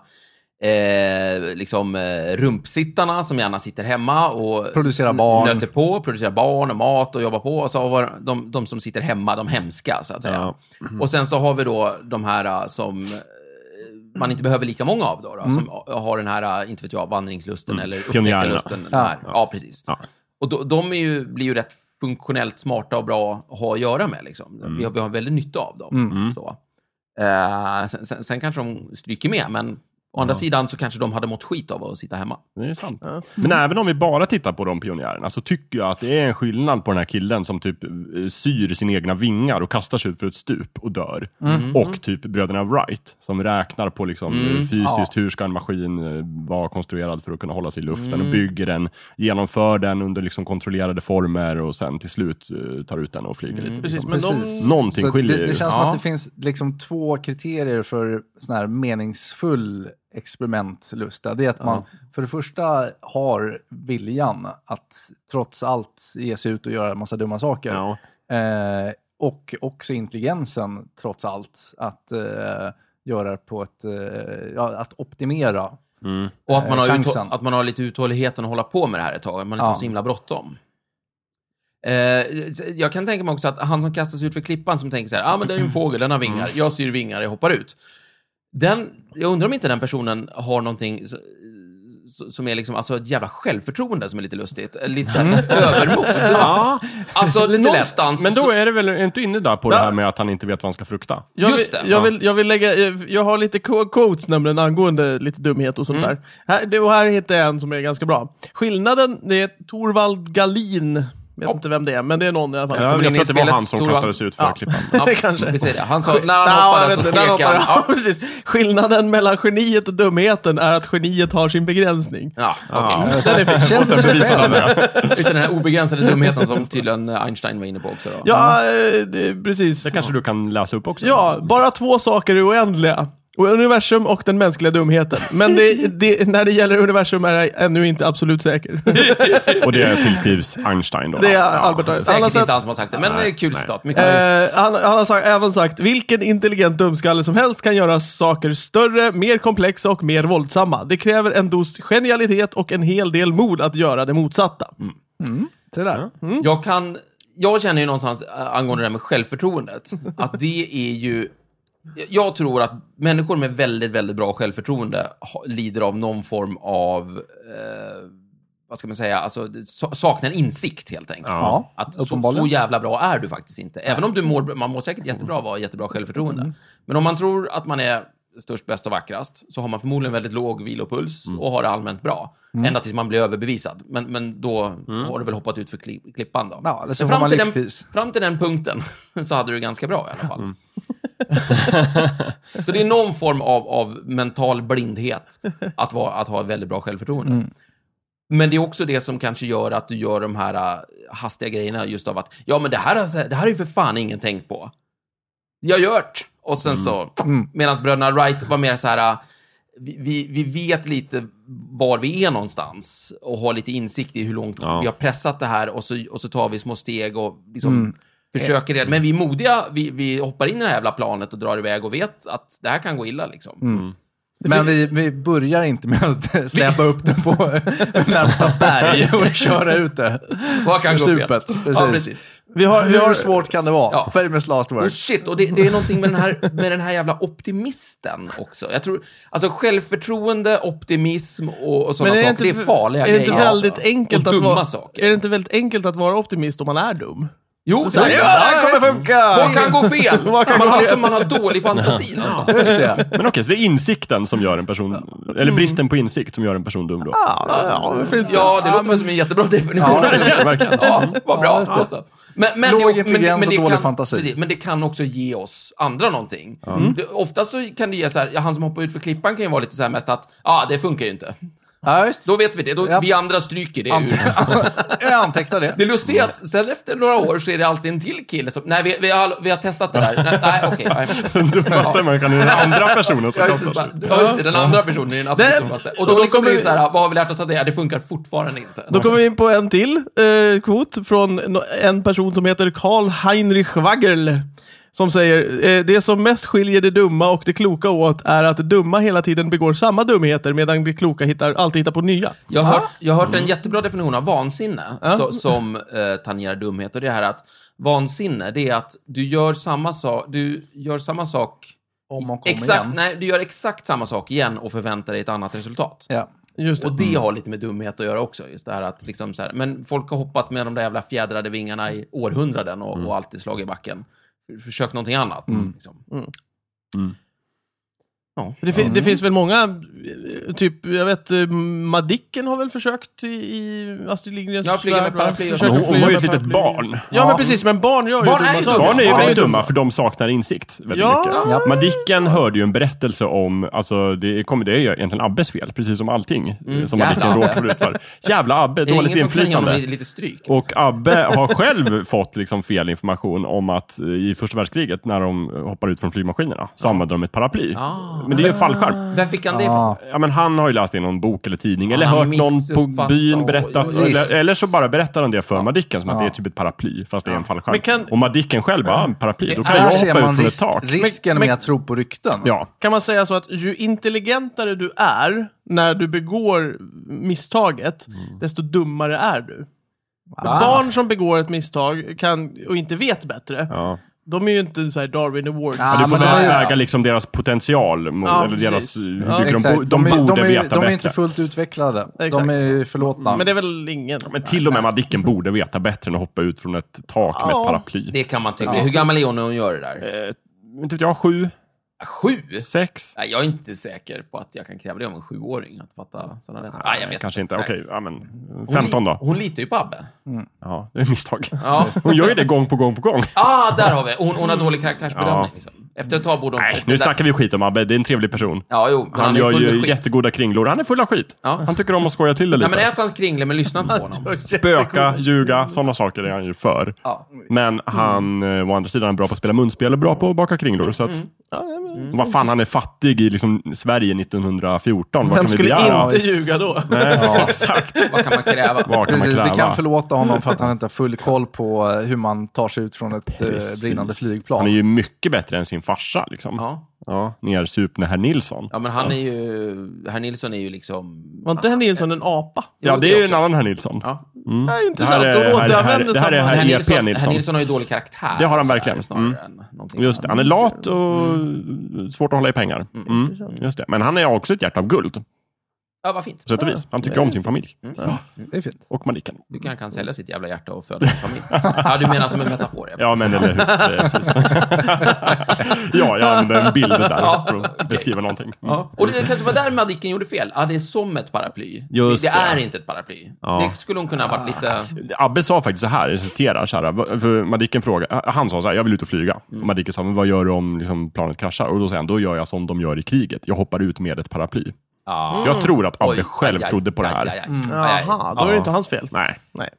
Speaker 2: eh, liksom, eh, rumpsittarna som gärna sitter hemma och
Speaker 4: Producera barn.
Speaker 2: nöter på, producerar barn och mat och jobbar på. Och så har vi de, de som sitter hemma, de hemska, så att säga.
Speaker 3: Ja.
Speaker 2: Och sen så har vi då de här eh, som eh, man inte behöver lika många av då, då som a- har den här, eh, inte vet jag, vandringslusten eller
Speaker 3: Pionjärerna.
Speaker 2: upptäckarlusten. den här. Ja, precis.
Speaker 3: Ja.
Speaker 2: Och då, de är ju, blir ju rätt funktionellt smarta och bra att ha att göra med. Liksom. Vi, har, vi har väldigt nytta av dem. Så. Eh, sen, sen, sen kanske de stryker med, men å andra sidan så kanske de hade mått skit av att sitta hemma.
Speaker 3: Det är sant. Men även om vi bara tittar på de pionjärerna så tycker jag att det är en skillnad på den här killen som typ eh, syr sina egna vingar och kastar sig ut för ett stup och dör. Och typ bröderna Wright som räknar på liksom eh, fysiskt hur ska en maskin eh, vara konstruerad för att kunna hålla sig i luften och bygger den, genomför den under liksom kontrollerade former och sen till slut eh, tar ut den och flyger lite.
Speaker 1: Precis,
Speaker 3: Liksom.
Speaker 1: men
Speaker 4: Precis.
Speaker 1: de...
Speaker 3: Någonting
Speaker 4: Så
Speaker 3: skiljer
Speaker 4: det, det
Speaker 3: ju.
Speaker 4: känns som att det finns liksom två kriterier för sån här meningsfull experimentlusta. Det är att man för det första har viljan att trots allt ge sig ut och göra en massa dumma saker.
Speaker 3: Ja.
Speaker 4: Eh, och också intelligensen trots allt att eh, göra på ett, eh, ja, att optimera.
Speaker 2: Och att man, har
Speaker 4: Eh,
Speaker 2: uthå-
Speaker 4: chansen.
Speaker 2: att man har lite uthålligheten att hålla på med det här ett tag. att Man inte
Speaker 4: Ja.
Speaker 2: har så himla bråttom. Eh, jag kan tänka mig också att han som kastas ut för klippan som tänker så här, ah, men det är ju en fågel, den har
Speaker 3: Mm.
Speaker 2: vingar, jag syr vingar, jag hoppar ut. Den, jag undrar om inte den personen har någonting så, så, som är liksom, alltså ett jävla självförtroende som är lite lustigt. Eh, Lite såhär övermod. Alltså någonstans.
Speaker 3: Men
Speaker 2: så-
Speaker 3: då är det väl, är inte inne där på det
Speaker 1: Ja.
Speaker 3: här med att han inte vet vad han ska frukta?
Speaker 1: Jag vill,
Speaker 2: Just det,
Speaker 1: jag,
Speaker 3: ja.
Speaker 1: vill, jag vill lägga, jag, jag har lite qu- quotes nämligen angående lite dumhet och sånt
Speaker 2: Mm.
Speaker 1: där. Här, det, och här hittar jag en som är ganska bra. Skillnaden, det är Torvald Galin. vet inte vem det är, men det är någon i alla fall.
Speaker 3: Jag,
Speaker 2: kommer
Speaker 3: jag
Speaker 2: in i
Speaker 3: tror att det var
Speaker 2: spelet,
Speaker 3: han som
Speaker 2: Torvald.
Speaker 3: kastades ut för
Speaker 1: Ja.
Speaker 3: klippan.
Speaker 2: ja,
Speaker 1: kanske.
Speaker 2: Vi säger det. Han sa, när han
Speaker 1: Nej, jag
Speaker 2: hoppade
Speaker 1: vet
Speaker 2: så
Speaker 1: inte, när
Speaker 2: skrek han.
Speaker 1: hoppade-
Speaker 2: Ja,
Speaker 1: ja, precis. Skillnaden mellan geniet och dumheten är att geniet har sin begränsning.
Speaker 2: ja, okej.
Speaker 1: Den är fin.
Speaker 3: Och sen bevisade han det.
Speaker 2: Just det, den här obegränsade dumheten som tydligen Einstein var inne på också. Då.
Speaker 1: Ja, eh, det, precis.
Speaker 3: Det kanske du kan läsa upp också?
Speaker 1: Ja, bara två saker är oändliga. Och universum och den mänskliga dumheten. Men det, det, när det gäller universum är jag ännu inte absolut säker.
Speaker 3: Och det tillskrivs Einstein då?
Speaker 1: Det är Albert Einstein.
Speaker 2: Säkert
Speaker 1: Alla sätt-
Speaker 2: inte han som har sagt det, men det är kul citat. Mycket nice.
Speaker 1: Eh, han, han har sagt, även sagt, vilken intelligent dumskalle som helst kan göra saker större, mer komplexa och mer våldsamma. Det kräver en dos genialitet och en hel del mod att göra det motsatta.
Speaker 4: Så där.
Speaker 2: Jag kan... Jag känner ju någonstans eh, angående det här med självförtroendet, att det är ju... Jag tror att människor med väldigt, väldigt bra självförtroende ha- lider av någon form av, eh, vad ska man säga, alltså sa- saknar insikt helt enkelt.
Speaker 4: Ja,
Speaker 2: Att så,
Speaker 4: uppenbarligen.
Speaker 2: så jävla bra är du faktiskt inte. Även om du mår, bra- man mår säkert jättebra av att ha jättebra självförtroende. Men om man tror att man är störst, bäst och vackrast, så har man förmodligen väldigt låg vilopuls och har det allmänt bra. Ända tills man blir överbevisad. Men, men då har du väl hoppat ut för kli- klippan då.
Speaker 4: Ja, eller så
Speaker 2: Men
Speaker 4: får man
Speaker 2: till den,
Speaker 4: livskris.
Speaker 2: fram till den punkten så hade du det ganska bra i alla fall. så det är någon form av, av mental blindhet att, vara, att ha ett väldigt bra självförtroende.
Speaker 4: Mm.
Speaker 2: Men det är också det som kanske gör att du gör de här äh, hastiga grejerna just av att ja, men det här, har- det här är ju för fan ingen tänkt på. Jag gjort! Och sen så,
Speaker 4: Mm.
Speaker 2: medan bröderna Wright var mer så här, äh, vi, vi, vi vet lite var vi är någonstans och har lite insikt i hur långt
Speaker 3: Ja.
Speaker 2: vi har pressat det här och så, och så tar vi små steg och liksom
Speaker 1: Mm.
Speaker 2: försöker det. Men vi är modiga, vi, vi hoppar in i det här jävla planet och drar iväg och vet att det här kan gå illa liksom.
Speaker 1: Mm.
Speaker 4: Men vi, vi börjar inte med att släpa upp den på närmsta berg och köra ut det.
Speaker 2: Vad kan
Speaker 4: Ur
Speaker 2: gå fel?
Speaker 4: stupet. Precis.
Speaker 2: Ja, precis.
Speaker 1: Vi har, vi
Speaker 4: Hur
Speaker 1: har,
Speaker 4: svårt kan det vara?
Speaker 2: Ja.
Speaker 4: Famous last
Speaker 2: Och
Speaker 4: word.
Speaker 2: shit, och det, det är någonting med den, här, med den här jävla optimisten också. Jag tror, alltså självförtroende, optimism och, och sådana
Speaker 1: men är
Speaker 2: saker,
Speaker 1: det,
Speaker 2: det är
Speaker 1: inte,
Speaker 2: farliga
Speaker 1: är det
Speaker 2: grejer.
Speaker 1: inte väldigt
Speaker 2: alltså.
Speaker 1: enkelt
Speaker 2: och
Speaker 1: att
Speaker 2: dumma
Speaker 1: vara,
Speaker 2: saker.
Speaker 1: Är det inte väldigt enkelt att vara optimist om man är dum?
Speaker 2: Jo,
Speaker 1: Så, ja, det här kommer funka!
Speaker 2: Vad kan gå fel?
Speaker 1: Vad kan
Speaker 2: man,
Speaker 1: gå fel?
Speaker 2: har, alltså, man har dålig fantasi någonstans.
Speaker 4: Just det.
Speaker 3: Men okej, så det är insikten som gör en person, eller bristen på insikt som gör en person dum då?
Speaker 1: Ja, ja, varför inte?
Speaker 2: Ja, det låter väl som en jättebra definition.
Speaker 4: Ja,
Speaker 3: verkligen.
Speaker 2: Ja, vad
Speaker 4: Ja,
Speaker 2: bra.
Speaker 4: just det.
Speaker 2: Åsa. Men, men,
Speaker 4: Låg
Speaker 2: det- men-
Speaker 4: intelligens
Speaker 2: men det
Speaker 4: och dålig
Speaker 2: kan,
Speaker 4: fantasi.
Speaker 2: Precis, men det kan också ge oss andra någonting. Mm. Det, oftast så kan det ge så här, ja, han som hoppar ut för klippan kan ju vara lite så här mest att, ja, ah, det funkar ju inte.
Speaker 4: Ja, just.
Speaker 2: Då vet vi det. Då,
Speaker 4: Ja.
Speaker 2: Vi andra stryker det. ur-
Speaker 4: Ante- jag antecknar det.
Speaker 2: Det lustiga är att sen efter några år så är det alltid en till kille som... Nej, vi, vi, har, vi har testat det där. Nej, nej, okej. nej.
Speaker 3: Den dummaste människan är den andra personen som
Speaker 2: Ja, just det,
Speaker 3: kastar
Speaker 2: bara-
Speaker 3: sig.
Speaker 2: ja, just det. Den andra personen är den absolut
Speaker 1: Nej,
Speaker 2: dummaste. Och då,
Speaker 1: och då
Speaker 2: liksom
Speaker 1: kommer
Speaker 2: blir det
Speaker 1: vi-
Speaker 2: så här, vad har vi lärt oss av det? Ja, Det funkar fortfarande inte.
Speaker 1: Då kommer vi in på en till eh, kvot från no- en person som heter Karl Heinrich Waggerl. Som säger, eh, det som mest skiljer det dumma och det kloka åt är att det dumma hela tiden begår samma dumheter medan det kloka hittar, alltid hittar på nya.
Speaker 2: Jag har, hört, jag har hört
Speaker 4: Mm.
Speaker 2: en jättebra definition av vansinne så, som eh, tangerar dumhet. Och det är här att vansinne, det är att du gör samma, sa, du gör samma sak...
Speaker 4: Om och om
Speaker 2: Exakt,
Speaker 4: igen.
Speaker 2: nej, du gör exakt samma sak igen och förväntar dig ett annat resultat.
Speaker 4: Ja.
Speaker 1: Just
Speaker 2: Och
Speaker 4: Mm.
Speaker 2: det har lite med dumhet att göra också. Just det här att liksom så här, men folk har hoppat med de där jävla fjädrade vingarna i århundraden
Speaker 4: Mm.
Speaker 2: och, och alltid slagit i backen. Försök någonting annat. Liksom.
Speaker 4: Mm.
Speaker 1: Det, fin-
Speaker 2: Mm.
Speaker 1: det finns väl många, eh, typ, jag vet, eh, Madicken har väl försökt i, i Astrid Lindgrens
Speaker 2: Ja, flyga med
Speaker 1: värld, va?
Speaker 2: paraply och
Speaker 1: Försöker
Speaker 3: Men hon,
Speaker 1: flyga
Speaker 3: hon var ju
Speaker 1: med
Speaker 3: ett litet
Speaker 1: paraply.
Speaker 3: barn.
Speaker 1: Ja, men precis, men barn gör ju
Speaker 2: Barn är
Speaker 1: dumma
Speaker 2: ju
Speaker 1: saker.
Speaker 3: Barn är ju
Speaker 2: Ja,
Speaker 3: väldigt
Speaker 2: precis.
Speaker 3: dumma för de saknar insikt väldigt
Speaker 1: Ja.
Speaker 3: mycket.
Speaker 4: Ja.
Speaker 3: Madicken hörde ju en berättelse om, alltså det, kommer, det är ju egentligen Abbes fel, precis som allting eh, som
Speaker 2: jävla
Speaker 3: Madicken
Speaker 2: Abbe.
Speaker 3: råkade ut för. Jävla Abbe,
Speaker 2: Är det
Speaker 3: dåligt
Speaker 2: ingen som klingar honom
Speaker 3: inflytande.
Speaker 2: i lite stryk?
Speaker 3: Och Abbe har själv fått liksom fel information om att eh, i första världskriget när de hoppar ut från flygmaskinerna så använder de ett paraply.
Speaker 2: Ah.
Speaker 3: Men det är ju en fallskärm.
Speaker 2: Vem fick han det ifrån?
Speaker 4: Ja.
Speaker 3: Ja, men han har ju läst i någon bok eller tidning eller
Speaker 2: Han har
Speaker 3: hört någon på
Speaker 2: missuppfattat
Speaker 3: byn
Speaker 2: och-
Speaker 3: berätta.
Speaker 2: Jo, visst.
Speaker 3: Eller, eller så bara berättar han det för Madicken som att det är typ ett paraply fast det är en fallskärm.
Speaker 1: Men kan-
Speaker 3: Och Madicken själv bara, ah, en paraply, då kan
Speaker 4: Här
Speaker 3: jag
Speaker 4: ser
Speaker 3: hoppa ut
Speaker 4: man
Speaker 3: från ett
Speaker 4: risk,
Speaker 3: tak.
Speaker 4: risken med att tro på rykten.
Speaker 3: Ja.
Speaker 1: Kan man säga så att ju intelligentare du är när du begår misstaget,
Speaker 3: Mm.
Speaker 1: desto dummare är du?
Speaker 4: Ah.
Speaker 1: Barn som begår ett misstag kan, och inte vet bättre,
Speaker 3: Ja.
Speaker 1: de är ju inte så här Darwin Awards.
Speaker 4: Ah,
Speaker 3: Ja, du får
Speaker 4: men de är ju-
Speaker 3: väga liksom deras potential. Mot,
Speaker 1: Ja,
Speaker 3: eller
Speaker 1: precis.
Speaker 3: deras, eh, hur
Speaker 1: Ja,
Speaker 3: mycket de,
Speaker 4: Exakt.
Speaker 3: bo, de,
Speaker 4: är-
Speaker 3: borde
Speaker 4: de är, ju-
Speaker 3: veta
Speaker 4: De är ju
Speaker 3: bättre.
Speaker 4: inte fullt utvecklade.
Speaker 1: Exakt.
Speaker 4: De är ju förlåtna.
Speaker 1: Men det är väl ingen.
Speaker 3: Men till och med Madicken borde veta bättre än att hoppa ut från ett tak med
Speaker 1: Ja.
Speaker 3: ett paraply.
Speaker 2: Det kan man tycka. Hur gammal är hon när hon gör det där? Ah,
Speaker 3: Eh, inte vet jag, sju,
Speaker 2: Sju?
Speaker 3: sex?
Speaker 2: Nej, jag är inte säker på att jag kan kräva det av en sjuåring, att fatta sådana där saker. Nej, jag vet
Speaker 3: Kanske inte.
Speaker 2: Nej.
Speaker 3: Okej, ja, men
Speaker 2: Hon li-
Speaker 3: 15 då.
Speaker 2: Hon litar ju på Abbe.
Speaker 3: Ja, det är ett misstag.
Speaker 2: Ja.
Speaker 3: Hon gör ju det gång på gång på gång.
Speaker 2: Ah, där har vi det. Hon, hon har dålig karaktärsbedömning.
Speaker 3: Ja.
Speaker 2: Liksom. Efter ett tag borde hon...
Speaker 3: Nej, nu snackar vi skit om Abbe. Det är en trevlig person.
Speaker 2: Ja, jo, men
Speaker 3: Han,
Speaker 2: han, är
Speaker 3: gör
Speaker 2: full
Speaker 3: ju
Speaker 2: med skit.
Speaker 3: jättegoda kringlor. Han är full av skit.
Speaker 2: Ja.
Speaker 3: Han tycker om att skoja till det
Speaker 2: Nej,
Speaker 3: lite.
Speaker 2: men ät hans kringle, men lyssna inte på honom.
Speaker 3: Spöka, ljuga, sådana saker är han ju för.
Speaker 4: Ja.
Speaker 3: Men han, eh, å andra sidan, är bra på att spela munspel och bra på att baka kringlor. Så att,
Speaker 2: Mm.
Speaker 3: Vad fan, han är fattig i liksom, Sverige 1914.
Speaker 1: Vem
Speaker 3: Vad kan vi
Speaker 1: skulle
Speaker 3: begära?
Speaker 1: inte ljuga då?
Speaker 3: Nej, exakt.
Speaker 2: Vad kan man kräva?
Speaker 3: Vad kan man
Speaker 4: Precis,
Speaker 3: kräva?
Speaker 4: vi kan förlåta honom för att han inte har full koll på eh, hur man tar sig ut från ett eh,
Speaker 3: Precis.
Speaker 4: brinnande
Speaker 3: Han
Speaker 4: flygplan.
Speaker 3: är ju mycket bättre än sin farsa. Liksom. Ja.
Speaker 2: Ja.
Speaker 3: Nersupne herr Nilsson.
Speaker 2: ja, men han är ju... Herr Nilsson är ju liksom...
Speaker 1: Var inte herr Nilsson en apa?
Speaker 3: Ja, det är ju en
Speaker 2: också.
Speaker 3: annan herr Nilsson. Mm.
Speaker 2: Ja.
Speaker 1: Nej,
Speaker 3: Det
Speaker 1: intressant.
Speaker 3: här är-
Speaker 1: De
Speaker 3: här-
Speaker 1: återanvänder
Speaker 3: här- det här är
Speaker 1: samma...
Speaker 3: här-
Speaker 2: Herr
Speaker 3: EP
Speaker 2: Nilsson, herr
Speaker 3: Nilsson.
Speaker 2: Nilsson har ju dålig karaktär.
Speaker 3: Det har han
Speaker 2: sådär,
Speaker 3: verkligen.
Speaker 2: snarare
Speaker 3: Mm.
Speaker 2: än någonting
Speaker 3: Just det, han är lat och svårt att hålla i pengar. Mm, just det. Men han är också ett hjärta av guld,
Speaker 2: Ja, vad fint.
Speaker 3: på sätt och vis. Han tycker om sin familj.
Speaker 4: Det är fint.
Speaker 3: Och Madicken.
Speaker 2: Tycker han kan sälja sitt jävla hjärta och föda en familj. Ja, du menar som en metafor? jag
Speaker 3: Mm. Ja, men eller hur? Precis. ja, jag använde en bild där för att beskriva någonting. Mm.
Speaker 2: Och det kanske var där Madicken gjorde fel. Ja, det är som ett paraply.
Speaker 3: Just
Speaker 2: det,
Speaker 3: det.
Speaker 2: är inte ett paraply.
Speaker 3: Ja. Ah.
Speaker 2: Det skulle hon kunna ha varit lite...
Speaker 3: Abbe sa faktiskt så här, jag citerar, så här för Madicken fråga, han sa så här, jag vill ut och flyga.
Speaker 2: Mm.
Speaker 3: Och Madicken sa, men vad gör du om liksom, planet kraschar? Och då säger han, då gör jag som de gör i kriget, jag hoppar ut med ett paraply.
Speaker 2: Ja.
Speaker 3: För Jag tror att Abbe
Speaker 2: Mm. Oj,
Speaker 3: själv
Speaker 2: aj, aj,
Speaker 3: trodde på det här.
Speaker 2: Aj, aj, aj. Aj, aj.
Speaker 1: Mm. Jaha, då är det inte hans fel.
Speaker 3: Nej,
Speaker 1: Nej.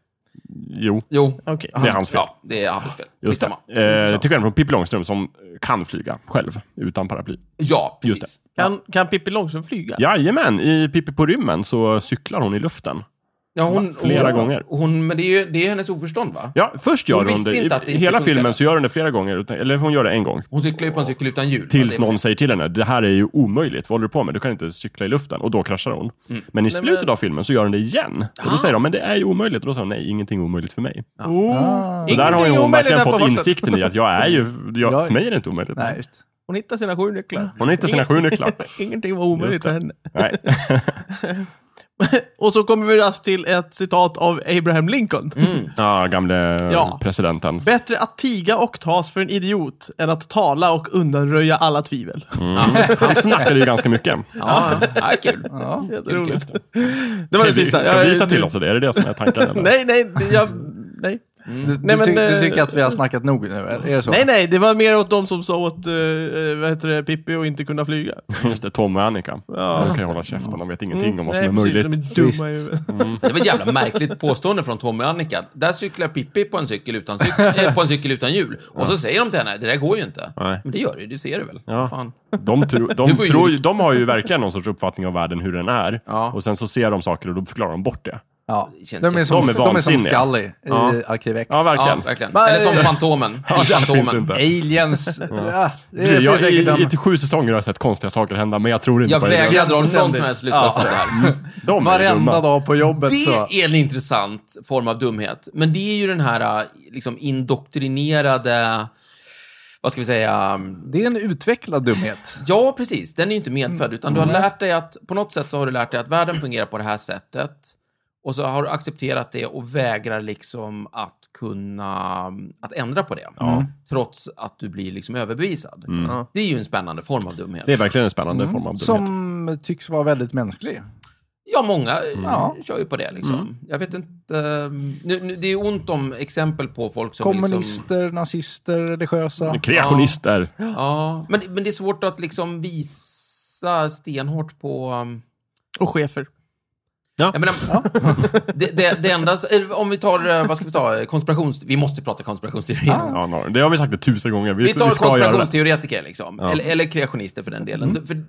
Speaker 3: jo. Eh,
Speaker 2: Jo,
Speaker 1: Okej.
Speaker 3: Det är hans fel.
Speaker 2: Ja, det är hans fel.
Speaker 3: Just
Speaker 2: Skitsamma.
Speaker 3: det. Eh, till skillnad från Pippi Långstrump som kan flyga själv utan paraply.
Speaker 2: Ja, precis.
Speaker 3: Just
Speaker 1: Kan, kan Pippi Långstrump flyga?
Speaker 3: Jajamän, i Pippi på rymmen så cyklar hon i luften.
Speaker 2: Ja, hon,
Speaker 3: Flera
Speaker 2: hon,
Speaker 3: gånger.
Speaker 2: Hon, men det är ju det är hennes oförstånd, va?
Speaker 3: Ja, först gör
Speaker 2: Hon
Speaker 3: hon,
Speaker 2: visste
Speaker 3: det.
Speaker 2: inte att det
Speaker 3: I
Speaker 2: inte
Speaker 3: hela
Speaker 2: funkade.
Speaker 3: filmen så gör hon det flera gånger, utan, eller hon gör det en gång.
Speaker 2: Hon cyklar ju på en cykel utan hjul.
Speaker 3: Tills
Speaker 2: Ja, det är-
Speaker 3: någon säger till henne, det här är ju omöjligt, vad håller du på med? Du kan inte cykla i luften. Och då kraschar hon.
Speaker 1: Mm.
Speaker 3: Men i slutet av filmen så gör hon det igen. Och då säger de, men det är ju omöjligt. Och då säger hon, nej, ingenting är omöjligt för mig.
Speaker 1: Oh.
Speaker 3: Och där har ju
Speaker 1: Ingenting
Speaker 3: hon
Speaker 1: omöjligt
Speaker 3: verkligen
Speaker 1: här på
Speaker 3: fått
Speaker 1: kartan.
Speaker 3: insikten i att jag är ju, jag,
Speaker 4: Jag-
Speaker 3: för mig är det inte omöjligt.
Speaker 4: Nej, just.
Speaker 1: Hon hittar sina sju nycklar.
Speaker 3: Hon har inte sina sju nycklar.
Speaker 1: Ingenting var omöjligt
Speaker 3: Just det.
Speaker 1: för henne.
Speaker 3: Nej.
Speaker 1: Och så kommer vi rast till ett citat av Abraham Lincoln.
Speaker 3: Ja, gamle
Speaker 1: Ja.
Speaker 3: presidenten.
Speaker 1: Bättre att tiga och tas för en idiot än att tala och undanröja alla tvivel.
Speaker 3: Han snackade ju ganska mycket.
Speaker 2: Ja, ja. ja kul.
Speaker 3: Mm.
Speaker 4: Ja.
Speaker 1: Jätteroligt. Det var det sista.
Speaker 3: Ska vi
Speaker 1: Jag-
Speaker 3: ta till oss det? Är det det som är tanken? eller?
Speaker 1: Nej, nej, jag, nej.
Speaker 4: Du,
Speaker 1: Nej,
Speaker 4: du,
Speaker 1: men,
Speaker 4: ty- du
Speaker 1: eh,
Speaker 4: tycker att vi har snackat nog nu? Är, är det så?
Speaker 1: Nej, nej, det var mer åt de som sa åt eh, vad heter det, Pippi och inte kunna flyga.
Speaker 3: Just det, Tom och Annika.
Speaker 1: Ja.
Speaker 3: De kan ju hålla käften, de vet ingenting om vad som
Speaker 1: nej,
Speaker 3: är
Speaker 1: precis,
Speaker 3: möjligt.
Speaker 1: De är dumma i
Speaker 4: Visst.
Speaker 1: huvudet.
Speaker 2: Det var ett jävla märkligt påstående från Tommy och Annika. Där cyklar Pippi på en cykel utan, cyk- eh, på en cykel utan hjul. Och så säger de till henne, det där går ju inte.
Speaker 3: Nej.
Speaker 2: Men det gör det ju, det ser du väl?
Speaker 3: Ja.
Speaker 2: Fan.
Speaker 3: De, tro,
Speaker 2: Det
Speaker 3: de,
Speaker 2: var ju
Speaker 3: tror, ju-
Speaker 2: riktigt.
Speaker 3: de har ju verkligen någon sorts uppfattning av världen, hur den är.
Speaker 2: Ja.
Speaker 3: Och sen så ser de saker och då förklarar de bort det.
Speaker 4: Ja.
Speaker 2: Det
Speaker 4: De,
Speaker 2: känns
Speaker 4: är
Speaker 2: jätte-
Speaker 4: som,
Speaker 3: de är
Speaker 4: de, är som
Speaker 3: vansinniga.
Speaker 4: Scully i
Speaker 3: Ja.
Speaker 4: Arkiv X.
Speaker 3: Ja,
Speaker 2: Ja,
Speaker 3: verkligen.
Speaker 2: verkligen.
Speaker 4: Men-
Speaker 2: Eller som Fantomen. I
Speaker 3: det finns
Speaker 2: Fantomen.
Speaker 3: inte.
Speaker 4: Aliens. ja. Det
Speaker 3: Precis,
Speaker 4: finns
Speaker 3: jag,
Speaker 4: säkert
Speaker 3: i, typ
Speaker 4: en...
Speaker 3: I till sju säsonger har jag sett konstiga saker hända, men jag tror inte
Speaker 2: Jag
Speaker 3: på det.
Speaker 2: vägrar dra någon
Speaker 4: Ständigt.
Speaker 2: som helst slutsats av det här.
Speaker 3: De är ju dumma.
Speaker 4: Varenda dag på jobbet så.
Speaker 2: Det är en intressant form av dumhet. Men det är ju den här äh, liksom indoktrinerade, vad ska vi säga, mm,
Speaker 4: Det är en utvecklad dumhet.
Speaker 2: Ja, precis. Den är ju inte
Speaker 3: Mm.
Speaker 2: medfödd, utan du har lärt dig att, på något sätt så har du lärt dig att världen fungerar på det här sättet. Och så har du accepterat det och vägrar liksom att kunna, att ändra på det.
Speaker 3: Mm.
Speaker 2: Trots att du blir liksom överbevisad. Det är ju en spännande form av dumhet.
Speaker 3: Det är verkligen en spännande
Speaker 2: Mm.
Speaker 3: form av dumhet.
Speaker 4: Som tycks vara väldigt mänsklig.
Speaker 2: Ja, många eh,
Speaker 4: Ja.
Speaker 2: kör ju på det liksom.
Speaker 3: Mm.
Speaker 2: Jag vet inte, eh, nu, nu, det är ont om exempel på folk som liksom...
Speaker 4: Kommunister, nazister, religiösa.
Speaker 3: Kreationister.
Speaker 2: Ja, men, men det är svårt att liksom visa stenhårt på... um,
Speaker 1: Och chefer.
Speaker 2: Jag menar, det, det, det enda, eh, om vi tar, eh, vad ska vi ta, eh, konspirations... Vi måste prata konspirationsteorier.
Speaker 3: Ja, no, det har vi sagt det tusen gånger. Vi,
Speaker 2: Vi tar
Speaker 3: ska göra det.
Speaker 2: konspirationsteoretiker, liksom. Eller, eller kreationister för den delen.
Speaker 3: Mm.
Speaker 2: För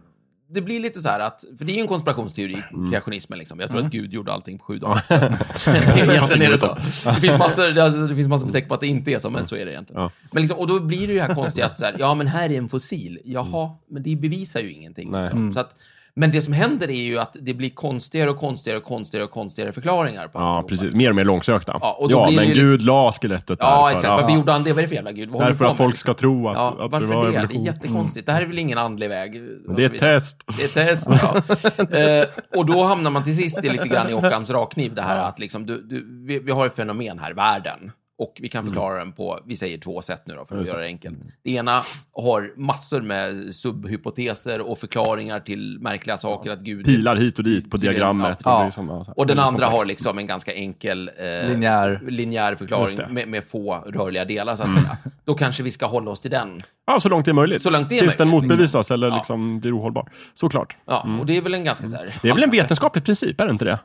Speaker 2: det blir lite så här att, för det är ju en konspirationsteori,
Speaker 3: Mm.
Speaker 2: kreationismen liksom. Jag tror att Gud gjorde allting på sju dagar. egentligen är det så. Det finns massor, alltså, det finns massor belägg på att det inte är så, men så är det egentligen.
Speaker 3: Mm. Ja.
Speaker 2: Men liksom, och då blir det ju det här konstiga att så här, ja men här är en fossil. Jaha, men det bevisar ju ingenting.
Speaker 3: Mm. Nej.
Speaker 2: Liksom. Så att, men det som händer är ju att det blir konstigare och konstigare och konstigare och konstigare förklaringar. På
Speaker 3: Ja,
Speaker 2: alltihopa.
Speaker 3: precis. Mer och mer långsökta.
Speaker 2: Ja,
Speaker 3: Ja,
Speaker 2: och då blir det
Speaker 3: men
Speaker 2: ju
Speaker 3: Gud
Speaker 2: liksom-
Speaker 3: la skelettet där.
Speaker 2: Ja,
Speaker 3: för
Speaker 2: exakt.
Speaker 3: att-
Speaker 2: Varför gjorde han det? Vad är det för jävla gud? Vad håller
Speaker 3: Därför
Speaker 2: du på
Speaker 3: att
Speaker 2: med?
Speaker 3: folk ska tro att,
Speaker 2: Ja,
Speaker 3: att det
Speaker 2: varför
Speaker 3: var
Speaker 2: det? Det är
Speaker 3: evolution.
Speaker 2: jättekonstigt. Det här är väl ingen andlig väg? och
Speaker 3: Det är
Speaker 2: så
Speaker 3: ett
Speaker 2: vidare.
Speaker 3: test.
Speaker 2: Det är ett test, ja. eh, och då hamnar man till sist i lite grann i Ockhams rakkniv, det här att liksom, du, du, vi, vi har ett fenomen här, världen. Och vi
Speaker 3: Mm.
Speaker 2: kan förklara den på, vi säger två sätt nu då, för att göra det enkelt. Det ena har massor med subhypoteser och förklaringar till märkliga saker, att Gud...
Speaker 3: Pilar hit och dit på
Speaker 2: Ja,
Speaker 3: diagrammet.
Speaker 2: precis.
Speaker 3: Det är som- ja, så här,
Speaker 2: Och den
Speaker 3: väldigt
Speaker 2: andra har
Speaker 3: komplext.
Speaker 2: liksom en ganska enkel eh,
Speaker 4: Linjär.
Speaker 2: linjär
Speaker 3: Just det. Mm.
Speaker 2: förklaring med, med få rörliga delar, så att säga. Då kanske vi ska hålla oss till den.
Speaker 3: Ja, så långt det är möjligt.
Speaker 2: Så långt det är
Speaker 3: Tills den
Speaker 2: möjligt, liksom.
Speaker 3: motbevisas eller
Speaker 2: Ja.
Speaker 3: liksom blir ohållbar. Såklart.
Speaker 2: Ja, och det är väl en ganska så här...
Speaker 3: Mm. Det är väl en vetenskaplig princip, är det inte det?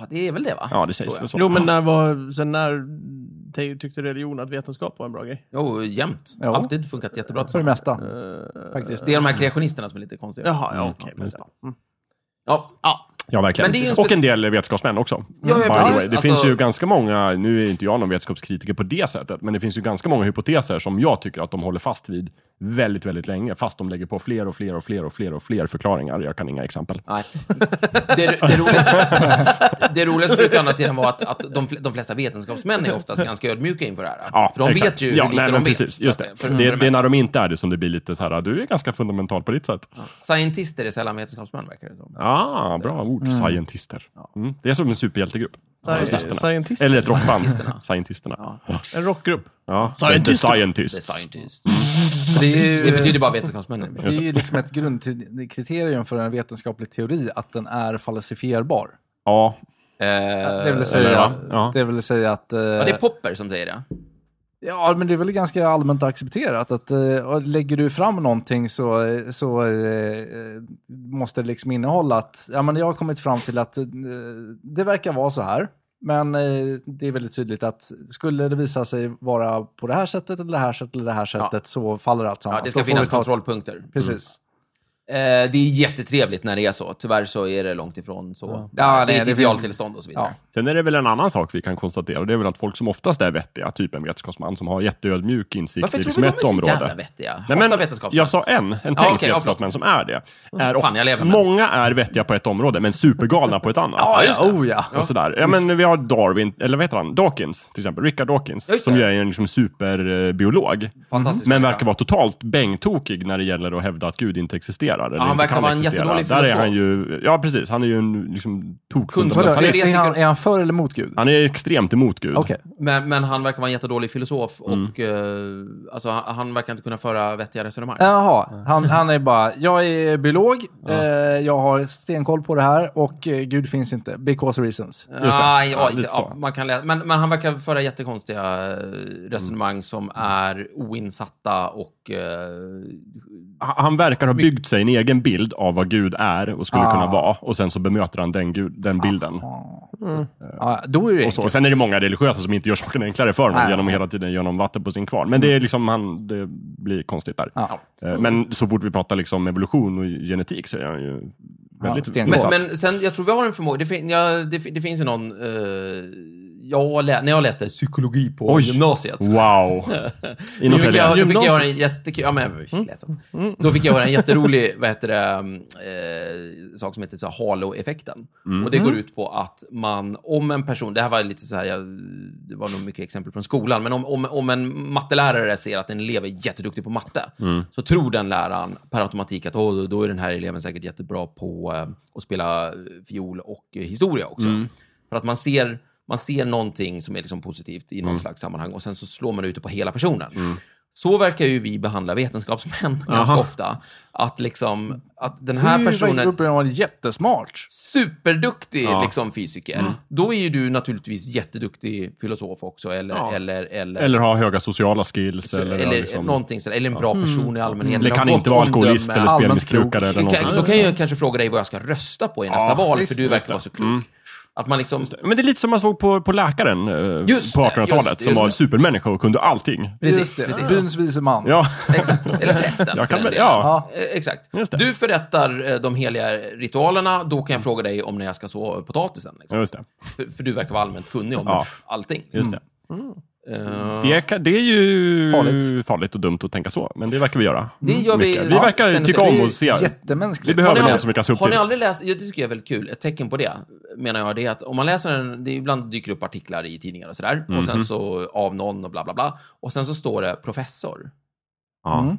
Speaker 2: Ja, det är väl det, va?
Speaker 3: Ja, det sägs
Speaker 2: Tror
Speaker 3: väl
Speaker 2: jag.
Speaker 3: så.
Speaker 1: Jo, men när var, sen när te- tyckte religion att vetenskap var en bra grej?
Speaker 2: Jo, jämt.
Speaker 4: Ja.
Speaker 2: Alltid funkat jättebra
Speaker 4: För det
Speaker 2: tillsammans.
Speaker 4: mesta. Faktiskt.
Speaker 2: Det är de här kreationisterna som är lite konstiga. Ja,
Speaker 1: Jaha, ja, okej. men-
Speaker 3: Just det.
Speaker 2: ja.
Speaker 3: Ja, verkligen.
Speaker 2: Men det är ju en
Speaker 3: Och
Speaker 2: spec-
Speaker 3: en del vetenskapsmän också.
Speaker 2: ja,
Speaker 3: by the
Speaker 2: precis.
Speaker 3: way. Det
Speaker 2: Alltså-
Speaker 3: finns ju ganska många, nu är inte jag någon vetenskapskritiker på det sättet, men det finns ju ganska många hypoteser som jag tycker att de håller fast vid väldigt, väldigt länge, fast de lägger på fler och fler och fler och fler och fler förklaringar. Jag kan inga exempel.
Speaker 2: Nej. Det, det, roligaste, det roligaste brukar å andra sidan vara att, att de, fl- de flesta vetenskapsmän är oftast ganska ödmjuka inför det här.
Speaker 3: Ja,
Speaker 2: för de
Speaker 3: exakt.
Speaker 2: vet ju
Speaker 3: ja,
Speaker 2: hur lite
Speaker 3: nej,
Speaker 2: de
Speaker 3: men
Speaker 2: vet.
Speaker 3: precis. Just
Speaker 2: så att
Speaker 3: det.
Speaker 2: säga, för-
Speaker 3: det,
Speaker 2: för
Speaker 3: det är
Speaker 2: mesta.
Speaker 3: när de inte är det som det blir lite så här, du är ganska fundamental på ditt sätt.
Speaker 2: Scientister är sällan vetenskapsmän, verkar det som.
Speaker 3: Ah, bra ord. Scientister. Mm. Det är som en superhjältegrupp.
Speaker 1: Sci- Scientist.
Speaker 3: Eller ett rockband. Scientisterna.
Speaker 2: Ja.
Speaker 1: En rockgrupp.
Speaker 3: Ja. The
Speaker 2: The
Speaker 3: scientists.
Speaker 2: scientist.
Speaker 4: Det är ju,
Speaker 2: Det betyder bara vetenskapsmän.
Speaker 4: det är ju liksom ett grundkriterium för en vetenskaplig teori att den är falsifierbar.
Speaker 3: Ja.
Speaker 2: Eh,
Speaker 4: Det vill
Speaker 3: eller
Speaker 4: säga,
Speaker 3: va? Ja.
Speaker 4: det vill säga att... eh,
Speaker 2: Ja, det är Popper som säger det.
Speaker 4: Ja, men det är väl ganska allmänt accepterat att eh, lägger du fram någonting så, eh, så eh, måste det liksom innehålla att ja, men jag har kommit fram till att eh, det verkar vara så här. Men eh, det är väldigt tydligt att skulle det visa sig vara på det här sättet eller det här sättet eller det här sättet
Speaker 2: Ja.
Speaker 4: så faller allt samman.
Speaker 2: Ja, det
Speaker 4: Så
Speaker 2: ska
Speaker 4: får vi
Speaker 2: finnas
Speaker 4: ta-
Speaker 2: kontrollpunkter.
Speaker 4: Precis.
Speaker 2: Eh, det är jättetrevligt när det är så. Tyvärr så är det långt ifrån så.
Speaker 4: Ja,
Speaker 2: det
Speaker 4: nej,
Speaker 2: är ett
Speaker 4: det finns-
Speaker 2: idealtillstånd och så vidare.
Speaker 4: Ja.
Speaker 3: Sen är det väl en annan sak vi kan konstatera, och det är väl att folk som oftast är vettiga, typ en vetenskapsman som har jätteödmjuk insikt
Speaker 2: Varför
Speaker 3: i
Speaker 2: tror
Speaker 3: liksom
Speaker 2: vi
Speaker 3: ett
Speaker 2: de är så jävla
Speaker 3: område.
Speaker 2: vettiga?
Speaker 3: Nej,
Speaker 2: Hatar
Speaker 3: men
Speaker 2: vetenskap.
Speaker 3: jag sa en, en tänkt
Speaker 2: okej, ja, förlåt. Mm,
Speaker 3: vetenskapsman som är det. Är
Speaker 2: Fan, jag lever med.
Speaker 3: många är vettiga på ett område, men supergalna på ett annat.
Speaker 2: Ja, just det.
Speaker 4: Oh ja.
Speaker 3: Och sådär. Ja, men vi har Darwin, eller vad heter han? Dawkins, till exempel. Richard Dawkins,
Speaker 2: Just det.
Speaker 3: som ju är en liksom superbiolog.
Speaker 2: Fantastisk
Speaker 3: Men
Speaker 2: människa.
Speaker 3: verkar vara totalt bängtokig när det gäller att hävda att Gud inte existerar. existerar. Eller
Speaker 2: han
Speaker 3: inte
Speaker 2: verkar
Speaker 3: kan
Speaker 2: vara en
Speaker 3: existera.
Speaker 2: jättedålig
Speaker 3: Där är han
Speaker 2: filosof.
Speaker 3: ju, ja precis, han är ju en liksom,
Speaker 2: Kunskap.
Speaker 3: tokfundamentalist.
Speaker 4: Vadå,
Speaker 2: Men
Speaker 4: är, är,
Speaker 2: teoretiker-
Speaker 4: han, är han för eller mot Gud?
Speaker 3: Han är extremt emot Gud.
Speaker 4: Okej.
Speaker 2: Men, men han verkar vara en jättedålig filosof
Speaker 3: Mm.
Speaker 2: och eh, alltså, han, han verkar inte kunna föra vettiga resonemang.
Speaker 4: Jaha, han, han är bara, jag är biolog, eh, jag har stenkoll på det här och eh, Gud finns inte, because reasons.
Speaker 3: Just det.
Speaker 2: Nej, Ah, ja,
Speaker 3: Ja,
Speaker 2: inte,
Speaker 3: lite
Speaker 2: ja,
Speaker 3: så.
Speaker 2: man kan läsa. Men, men han verkar föra jättekonstiga eh, resonemang
Speaker 3: Mm.
Speaker 2: som är oinsatta och... eh,
Speaker 3: Han han verkar ha byggt sig en egen bild av vad Gud är och skulle
Speaker 4: Ah.
Speaker 3: kunna vara. Och sen så bemöter han den, gud, den
Speaker 2: Ah.
Speaker 3: bilden.
Speaker 4: Ja, då är det
Speaker 3: Och så.
Speaker 4: enkelt.
Speaker 3: Sen är det många religiösa som inte gör saken enklare för
Speaker 2: Ah,
Speaker 3: honom
Speaker 4: Nej.
Speaker 3: genom att hela tiden göra någon vatten på sin kvarn. Men
Speaker 2: Mm.
Speaker 3: det, är liksom han, det blir konstigt där.
Speaker 2: Ah.
Speaker 4: Ja.
Speaker 3: Eh, Men så fort vi pratar liksom evolution och genetik så är han ju
Speaker 2: Ah,
Speaker 3: väldigt
Speaker 4: stenkoll.
Speaker 2: men,
Speaker 3: insatt.
Speaker 2: men sen, jag tror vi har en förmåga. Det, fin, ja, det, fi- det finns ju någon... eh, jag lä, när jag läste psykologi på
Speaker 3: Oj. Mm.
Speaker 2: gymnasiet.
Speaker 3: Wow! I
Speaker 2: Då fick,
Speaker 3: Norrtälje.
Speaker 2: jag, då fick jag
Speaker 1: Gymnasiet.
Speaker 2: höra en jättekul, ja, men, läs om. Då fick jag höra en jätterolig vad heter det, eh, sak som heter så här halo-effekten. Och det går ut på att man, om en person, det här var lite så här, jag, det var nog mycket exempel från skolan, men om, om, om en mattelärare ser att en elev är jätteduktig på matte, så tror den läraren per automatik att "Åh, då- då är den här eleven säkert jättebra på eh, att spela fiol och eh, historia också. För att man ser, man ser någonting som är liksom positivt i någon slags sammanhang och sen så slår man ut det på hela personen. Så verkar ju vi behandla vetenskapsmän ganska ofta. Att, liksom, att den här
Speaker 4: Personen...
Speaker 2: personen,
Speaker 4: var jättesmart.
Speaker 2: superduktig liksom, fysiker,
Speaker 3: Mm.
Speaker 2: då är ju du naturligtvis jätteduktig filosof också. Eller, eller, eller,
Speaker 3: Eller ha höga sociala skills.
Speaker 2: eller,
Speaker 3: Eller, liksom,
Speaker 2: någonting sådär. Eller en bra person i allmänhet.
Speaker 3: eller
Speaker 2: har
Speaker 3: kan
Speaker 2: gott
Speaker 3: inte vara alkoholist
Speaker 2: omdöme.
Speaker 3: eller
Speaker 4: allmänt
Speaker 3: spelmissbrukare.
Speaker 4: klok.
Speaker 3: Eller
Speaker 2: Kan- Så
Speaker 3: någonting.
Speaker 2: kan jag kanske fråga dig vad jag ska rösta på i nästa
Speaker 3: Ja,
Speaker 2: val,
Speaker 4: visst,
Speaker 2: för du verkar vara så klok. Att man liksom...
Speaker 3: Men Mm. det är lite som man såg på, på läkaren eh,
Speaker 2: Just
Speaker 3: på
Speaker 2: det,
Speaker 3: 1800-talet,
Speaker 2: just det,
Speaker 3: som
Speaker 2: just
Speaker 3: var
Speaker 2: det.
Speaker 3: en supermänniska och kunde allting.
Speaker 2: Precis,
Speaker 4: Just det,
Speaker 2: precis.
Speaker 4: byns vise man.
Speaker 3: Ja,
Speaker 2: Exakt. Eller prästen.
Speaker 3: jag
Speaker 2: för
Speaker 3: kan,
Speaker 2: den
Speaker 3: väl-
Speaker 2: delen.
Speaker 3: ja.
Speaker 2: Eh, Exakt.
Speaker 3: Just det.
Speaker 2: Du förrättar eh, de heliga ritualerna, då kan jag fråga dig om när jag ska så potatisen. Liksom.
Speaker 3: ja, just det.
Speaker 2: För, för du verkar vara allmänt kunnig om
Speaker 3: Ja.
Speaker 2: allting.
Speaker 3: Just det.
Speaker 2: Eh,
Speaker 3: Det, Mm. kan, det är ju
Speaker 4: Farligt.
Speaker 3: farligt. och dumt att tänka så, men det verkar vi göra.
Speaker 2: Det gör vi-
Speaker 3: Mycket. Vi
Speaker 2: ja,
Speaker 3: verkar
Speaker 2: ständigt.
Speaker 3: tycka
Speaker 2: Vi-
Speaker 3: om att se. Vi
Speaker 4: Jättemänskligt.
Speaker 3: behöver-
Speaker 2: har, ni
Speaker 3: någon
Speaker 2: aldrig,
Speaker 3: som vi kan se upp
Speaker 2: har ni
Speaker 3: till.
Speaker 2: aldrig läst, ja, det tycker jag är väldigt kul, ett tecken på det, menar jag, det är att om man läser en, det är ibland dyker upp artiklar i tidningar och sådär, och
Speaker 3: Mhm.
Speaker 2: sen så av någon och bla bla bla, och sen så står det professor.
Speaker 4: Mm.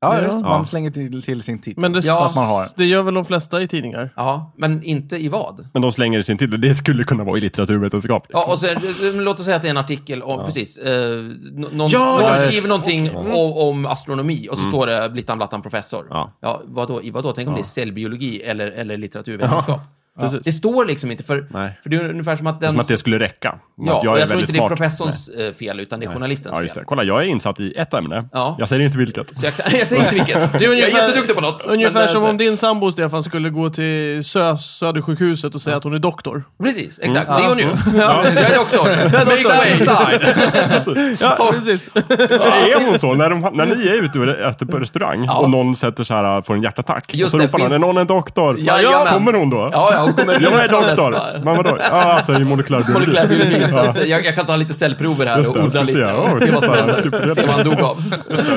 Speaker 4: Ja,
Speaker 1: Ja.
Speaker 4: just, man
Speaker 3: Ja.
Speaker 4: slänger till, till sin titel.
Speaker 1: Men det,
Speaker 4: så att man har.
Speaker 1: det gör väl de flesta i tidningar?
Speaker 2: Ja, men inte i vad?
Speaker 3: Men de slänger i sin titel. Det skulle kunna vara i litteraturvetenskap. Liksom.
Speaker 2: Ja, och så, eh, låt oss säga att det är en artikel om, precis, eh, n- någon,
Speaker 1: Ja,
Speaker 2: någon
Speaker 4: ja,
Speaker 2: skriver
Speaker 4: just-
Speaker 2: någonting om, om astronomi och så står det Blittan Blattan professor.
Speaker 3: Ja.
Speaker 2: ja vadå, i vadå? Tänk om det är cellbiologi eller, eller litteraturvetenskap.
Speaker 3: precis.
Speaker 2: Det står liksom inte, för,
Speaker 3: Nej.
Speaker 2: för det är ungefär som att den...
Speaker 3: Som att det skulle räcka. Som
Speaker 2: ja,
Speaker 3: att
Speaker 2: och
Speaker 3: är
Speaker 2: jag tror
Speaker 3: väldigt
Speaker 2: inte det är
Speaker 3: smart.
Speaker 2: professorns eh, fel, utan det är journalistens
Speaker 3: Ja, just det.
Speaker 2: fel.
Speaker 3: Kolla, jag är insatt i ett ämne.
Speaker 2: Ja.
Speaker 3: Jag säger inte vilket.
Speaker 2: Så jag, kan, jag säger inte vilket.
Speaker 1: Det är
Speaker 2: jag är
Speaker 1: ungefär-
Speaker 2: jätteduktig på något.
Speaker 1: Ungefär
Speaker 2: men,
Speaker 1: som
Speaker 2: eh,
Speaker 1: om din sambo Stefan skulle gå till Sö- Södersjukhuset och säga att hon är doktor.
Speaker 2: Precis, exakt. Det är hon ju. Jag är doktor.
Speaker 1: doktor.
Speaker 2: Make the way.
Speaker 1: Ja, precis.
Speaker 3: Är hon så? När, de, när ni är ute och äter på restaurang och någon sätter så här, äh, får en hjärtattack.
Speaker 2: Just
Speaker 3: och så
Speaker 2: det,
Speaker 3: ropar någon,
Speaker 2: finns-
Speaker 3: är någon en doktor?
Speaker 2: Jajamän.
Speaker 3: Kommer hon då?
Speaker 2: Ja, ja, hon kommer
Speaker 3: Jag är
Speaker 2: lysandes
Speaker 3: doktor.
Speaker 2: bara.
Speaker 3: Men vadå? Ja, alltså i molekylärbiologi.
Speaker 2: molekylär biologi. Så
Speaker 3: Ja,
Speaker 2: att jag, jag kan ta lite ställprover här
Speaker 3: Just
Speaker 2: och
Speaker 3: det,
Speaker 2: odla
Speaker 3: jag ska
Speaker 2: lite
Speaker 3: se.
Speaker 2: och
Speaker 3: Oj,
Speaker 2: se vad som
Speaker 3: fan,
Speaker 2: händer.
Speaker 3: typ det.
Speaker 2: Se vad han dog av.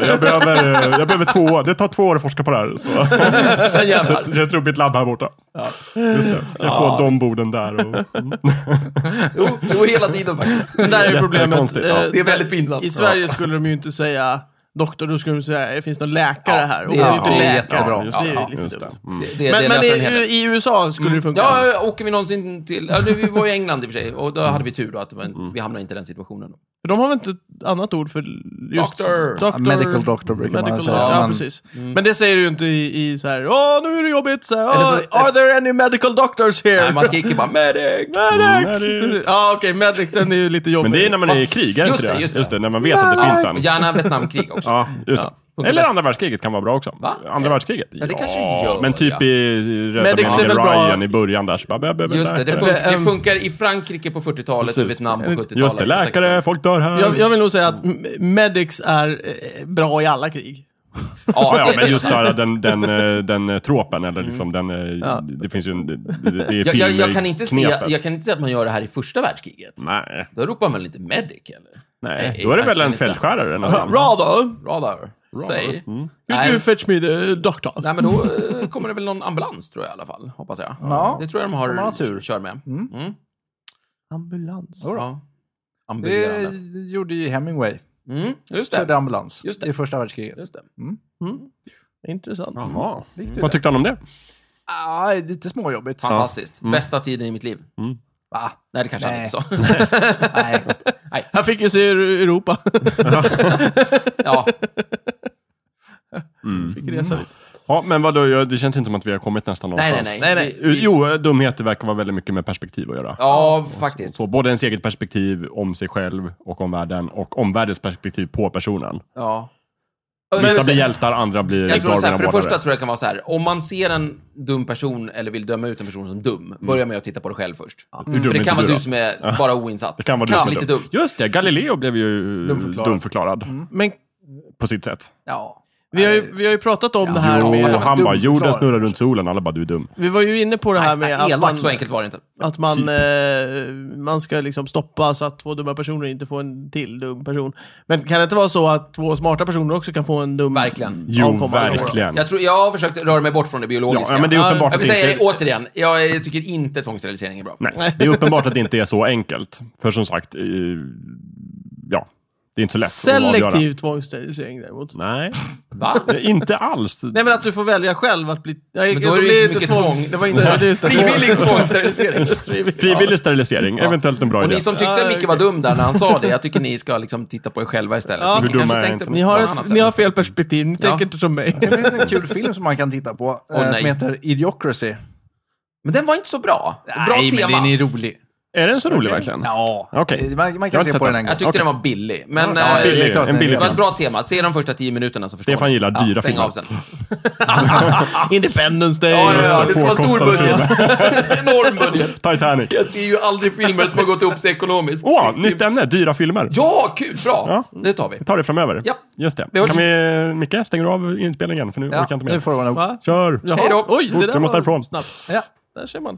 Speaker 3: jag, behöver, eh, jag behöver två år. Det tar två år att forska på det här. Så.
Speaker 2: Sen jävlar.
Speaker 3: Sätt, sätt upp mitt labb här borta. Just det. Jag
Speaker 2: Ja.
Speaker 3: får de borden där. Och,
Speaker 2: Jo, jo, hela tiden faktiskt.
Speaker 1: Men där är ju problemet.
Speaker 3: Jättekonstigt, ja.
Speaker 1: Eh,
Speaker 2: Det är väldigt pinsamt.
Speaker 1: I Sverige skulle de ju inte säga doktor, då skulle de säga, "Eh, finns det någon läkare här? Och
Speaker 2: det
Speaker 1: hon är
Speaker 2: är-
Speaker 1: ju inte
Speaker 2: det är
Speaker 1: läkare.
Speaker 2: jättebra.
Speaker 1: just det är
Speaker 2: Ja, Mm.
Speaker 1: ju lite
Speaker 3: just det.
Speaker 1: dumt.
Speaker 2: Det, det,
Speaker 1: Men,
Speaker 2: det
Speaker 1: men
Speaker 2: löser
Speaker 1: i,
Speaker 2: en hel del.
Speaker 1: i USA skulle det funka.
Speaker 2: Ja, åker vi någonsin till... Ja, nu, vi var i England i och för sig och då hade vi tur då att men,
Speaker 3: Mm.
Speaker 2: vi hamnade inte i den situationen.
Speaker 1: För De har väl inte ett annat ord för just...
Speaker 2: Doctor.
Speaker 1: doctor
Speaker 4: Medical doctor brukar man
Speaker 1: medical
Speaker 4: säga.
Speaker 1: doctor, Ja,
Speaker 4: Men-
Speaker 1: precis. Men det säger du ju inte i, i så här, åh nu är det jobbigt, så här,
Speaker 2: Eller så-
Speaker 1: "Åh, are there any medical doctors here?
Speaker 2: Nej, man skriker bara medic!
Speaker 1: Medic!
Speaker 3: Medic.
Speaker 1: Precis. Ja, okej, medic, den är ju lite jobbig.
Speaker 3: Men det är när man är i krig, är det
Speaker 2: Just
Speaker 3: inte
Speaker 2: det,
Speaker 3: det?
Speaker 2: just det.
Speaker 3: Just det, när man vet att det finns en.
Speaker 2: Gärna Vietnamkrig också.
Speaker 3: Mm. Ja, just det.
Speaker 2: Funkar
Speaker 3: Eller
Speaker 2: bäst.
Speaker 3: andra världskriget kan vara bra också.
Speaker 2: Va?
Speaker 3: Andra världskriget?
Speaker 2: Ja, det kanske det gör,
Speaker 3: men typ
Speaker 2: ja.
Speaker 3: i Rädda
Speaker 1: Medics är
Speaker 3: Meningen
Speaker 1: väl bra-
Speaker 3: Ryan i början där. Så bara, bä, bä, bä,
Speaker 2: Just det, det,
Speaker 3: läkare.
Speaker 2: fun- det funkar i Frankrike på 40-talet och
Speaker 3: Precis.
Speaker 2: Vietnam på 70-talet.
Speaker 3: Just det, läkare, folk dör här.
Speaker 1: Jag, jag vill nog säga att m- medics är eh, bra i alla krig.
Speaker 2: Ja,
Speaker 3: Ja,
Speaker 2: det-
Speaker 3: men just där, den, den, eh, den eh, tråpen, eller liksom den... eh, Det finns ju en... Det, det är
Speaker 2: jag, jag, jag, kan inte se, jag,
Speaker 3: filmknepet.
Speaker 2: jag kan inte se att man gör det här i första världskriget.
Speaker 3: Nej,
Speaker 2: Då ropar man lite medic, eller?
Speaker 3: nej.
Speaker 2: Nej,
Speaker 3: Då är det
Speaker 2: jag
Speaker 3: väl
Speaker 2: kan
Speaker 3: en
Speaker 2: inte.
Speaker 3: fältskärare nästan.
Speaker 1: Radar,
Speaker 2: Radar, säg.
Speaker 1: could
Speaker 2: Nej,
Speaker 1: you fetch me the doctor?
Speaker 2: nej, men då eh, kommer det väl någon ambulans, tror jag i alla fall. Hoppas jag.
Speaker 4: Ja,
Speaker 2: Det tror jag de har,
Speaker 4: om man har tur.
Speaker 2: kör med.
Speaker 4: Mm.
Speaker 2: Mm.
Speaker 1: Ambulans.
Speaker 2: Ja.
Speaker 4: Det
Speaker 2: Ambulerande.
Speaker 4: gjorde ju Hemingway.
Speaker 2: Mm. Just
Speaker 4: Körde
Speaker 2: det.
Speaker 4: ambulans
Speaker 2: Just det.
Speaker 4: i första världskriget.
Speaker 2: Just det.
Speaker 4: Mm.
Speaker 1: Mm. Intressant.
Speaker 3: Jaha.
Speaker 4: Fick du
Speaker 3: Vad
Speaker 4: det?
Speaker 3: tyckte han om det?
Speaker 4: Ah, lite småjobbigt.
Speaker 2: Fantastiskt. Bästa tiden i mitt liv.
Speaker 4: Va?
Speaker 2: Nej, det kanske han
Speaker 4: Nej.
Speaker 2: inte sa.
Speaker 4: Nej,
Speaker 2: Nej,
Speaker 1: Han fick ju se Eur- Europa.
Speaker 2: ja.
Speaker 1: Fick resa.
Speaker 3: Mm. Ja, men vadå, jag- det känns inte som att vi har kommit nästan
Speaker 2: Nej,
Speaker 3: någonstans.
Speaker 2: nej, nej.
Speaker 1: Nej, nej.
Speaker 2: Vi- vi-
Speaker 3: Jo, eh, dumheter verkar vara väldigt mycket med perspektiv att göra.
Speaker 2: Ja, faktiskt.
Speaker 3: Så både ens eget perspektiv om sig själv och om världen och omvärldens perspektiv på personen.
Speaker 2: Ja.
Speaker 3: Vissa blir hjältar, andra blir
Speaker 2: Jag tror så här, för det
Speaker 3: vårdare.
Speaker 2: första tror jag kan vara så här, om man ser en dum person eller vill döma ut en person som dum, börja med att titta på dig själv först.
Speaker 3: Hur dum
Speaker 2: För
Speaker 3: är
Speaker 2: det kan
Speaker 3: inte
Speaker 2: vara du
Speaker 3: då?
Speaker 2: som är bara oinsatt.
Speaker 3: Det kan vara du som är
Speaker 2: lite Mm. dum.
Speaker 3: Just det, Galileo blev ju eh,
Speaker 4: Dumförklarad.
Speaker 3: dumförklarad
Speaker 1: Men
Speaker 3: på sitt sätt.
Speaker 4: Ja.
Speaker 1: vi har ju, vi har ju pratat om det här
Speaker 3: Jo,
Speaker 1: med...
Speaker 3: och han bara,
Speaker 4: dumförklarad.
Speaker 3: jorden snurrar runt solen. Alla bara, du är dum.
Speaker 1: Vi var ju inne på det här
Speaker 2: Nej,
Speaker 1: med att
Speaker 2: elakt,
Speaker 1: man,
Speaker 2: så enkelt Typ. var det inte.
Speaker 1: att man, eh, man ska liksom stoppa så att två dumma personer inte får en till dum person. Men kan det inte vara så att två smarta personer också kan få en dum
Speaker 2: Verkligen.
Speaker 3: Jo,
Speaker 1: avkomma?
Speaker 3: verkligen.
Speaker 2: Jag, tror, jag har försökt röra mig bort från det
Speaker 3: Ja,
Speaker 2: biologiska.
Speaker 3: ja, men det är
Speaker 1: Ja,
Speaker 3: uppenbart
Speaker 2: jag
Speaker 3: att
Speaker 2: vill
Speaker 3: det
Speaker 2: säga det
Speaker 3: inte...
Speaker 2: återigen, jag eh, tycker inte tvångssterilisering är bra.
Speaker 3: Nej, det är uppenbart att det inte är så enkelt. För som sagt, eh, ja, det är inte så lätt att avgöra.
Speaker 1: Selektiv tvångssterilisering däremot.
Speaker 3: Nej,
Speaker 2: Va?
Speaker 3: det är inte alls.
Speaker 1: Nej men att du får välja själv att bli... Ja,
Speaker 2: Men då är det
Speaker 1: blir
Speaker 2: ju inte så mycket
Speaker 1: tvångs-
Speaker 2: tvång.
Speaker 1: Det var inte det är just det.
Speaker 2: Frivillig tvångssterilisering.
Speaker 3: Frivillig sterilisering, eventuellt en bra
Speaker 2: Och
Speaker 3: idé.
Speaker 2: ni som tyckte
Speaker 1: Ja,
Speaker 2: att Micke var
Speaker 1: okej.
Speaker 2: dum där när han sa det, jag tycker ni ska liksom titta på er själva istället.
Speaker 1: Ja.
Speaker 2: ni
Speaker 3: Hur dumma är
Speaker 2: kanske
Speaker 3: jag
Speaker 2: tänkte
Speaker 3: inte?
Speaker 2: på
Speaker 1: Ni
Speaker 2: något
Speaker 1: har,
Speaker 2: annat
Speaker 1: ett, ni har
Speaker 2: sätt.
Speaker 1: fel perspektiv, ni
Speaker 2: Ja.
Speaker 1: tänker inte som mig.
Speaker 4: Det finns en kul film som man kan titta på
Speaker 2: Åh,
Speaker 4: eh,
Speaker 2: nej.
Speaker 4: som heter Idiocracy.
Speaker 2: Men den var inte så bra. Bra
Speaker 4: nej,
Speaker 2: tema.
Speaker 4: men den är rolig.
Speaker 3: Är den så rolig verkligen?
Speaker 4: Ja,
Speaker 3: Okej.
Speaker 4: man, man
Speaker 3: Jag har
Speaker 4: kan
Speaker 3: inte
Speaker 4: se
Speaker 3: sett
Speaker 4: på den
Speaker 3: den.
Speaker 4: en gång.
Speaker 2: Jag tyckte den var billig, men
Speaker 4: Ja,
Speaker 2: eh,
Speaker 4: billig.
Speaker 2: det
Speaker 3: Billig,
Speaker 4: är klart,
Speaker 3: en
Speaker 2: det
Speaker 3: billig
Speaker 2: var ett
Speaker 3: film.
Speaker 2: bra tema. Se de första tio minuterna så förstår
Speaker 3: Stefan
Speaker 2: ni.
Speaker 3: gillar dyra
Speaker 2: stäng
Speaker 3: filmer.
Speaker 2: av sen.
Speaker 1: Independence Day.
Speaker 2: Ja, ja, ja, det ska vara
Speaker 3: Påkostade
Speaker 2: stor budget. Enorm budget.
Speaker 3: Titanic.
Speaker 2: Jag ser ju aldrig filmer som har gått ihop sig ekonomiskt.
Speaker 3: Åh, nytt ämne! Dyra filmer.
Speaker 2: Ja, kul, bra.
Speaker 3: Ja.
Speaker 2: Det tar vi.
Speaker 3: Vi tar det framöver.
Speaker 2: Ja.
Speaker 3: Just det.
Speaker 2: Vi har-
Speaker 3: Kan vi... Micke, stänger du av inspelningen? För nu orkar
Speaker 4: Ja,
Speaker 3: jag inte
Speaker 4: nu
Speaker 3: mer.
Speaker 4: får det vara nog.
Speaker 1: Va?
Speaker 3: Kör!
Speaker 1: Jaha.
Speaker 2: Hej då.
Speaker 1: Oj, det där
Speaker 3: Jag måste
Speaker 1: var
Speaker 3: härifrån.
Speaker 1: snabbt.
Speaker 4: Ja.
Speaker 1: Där ser man.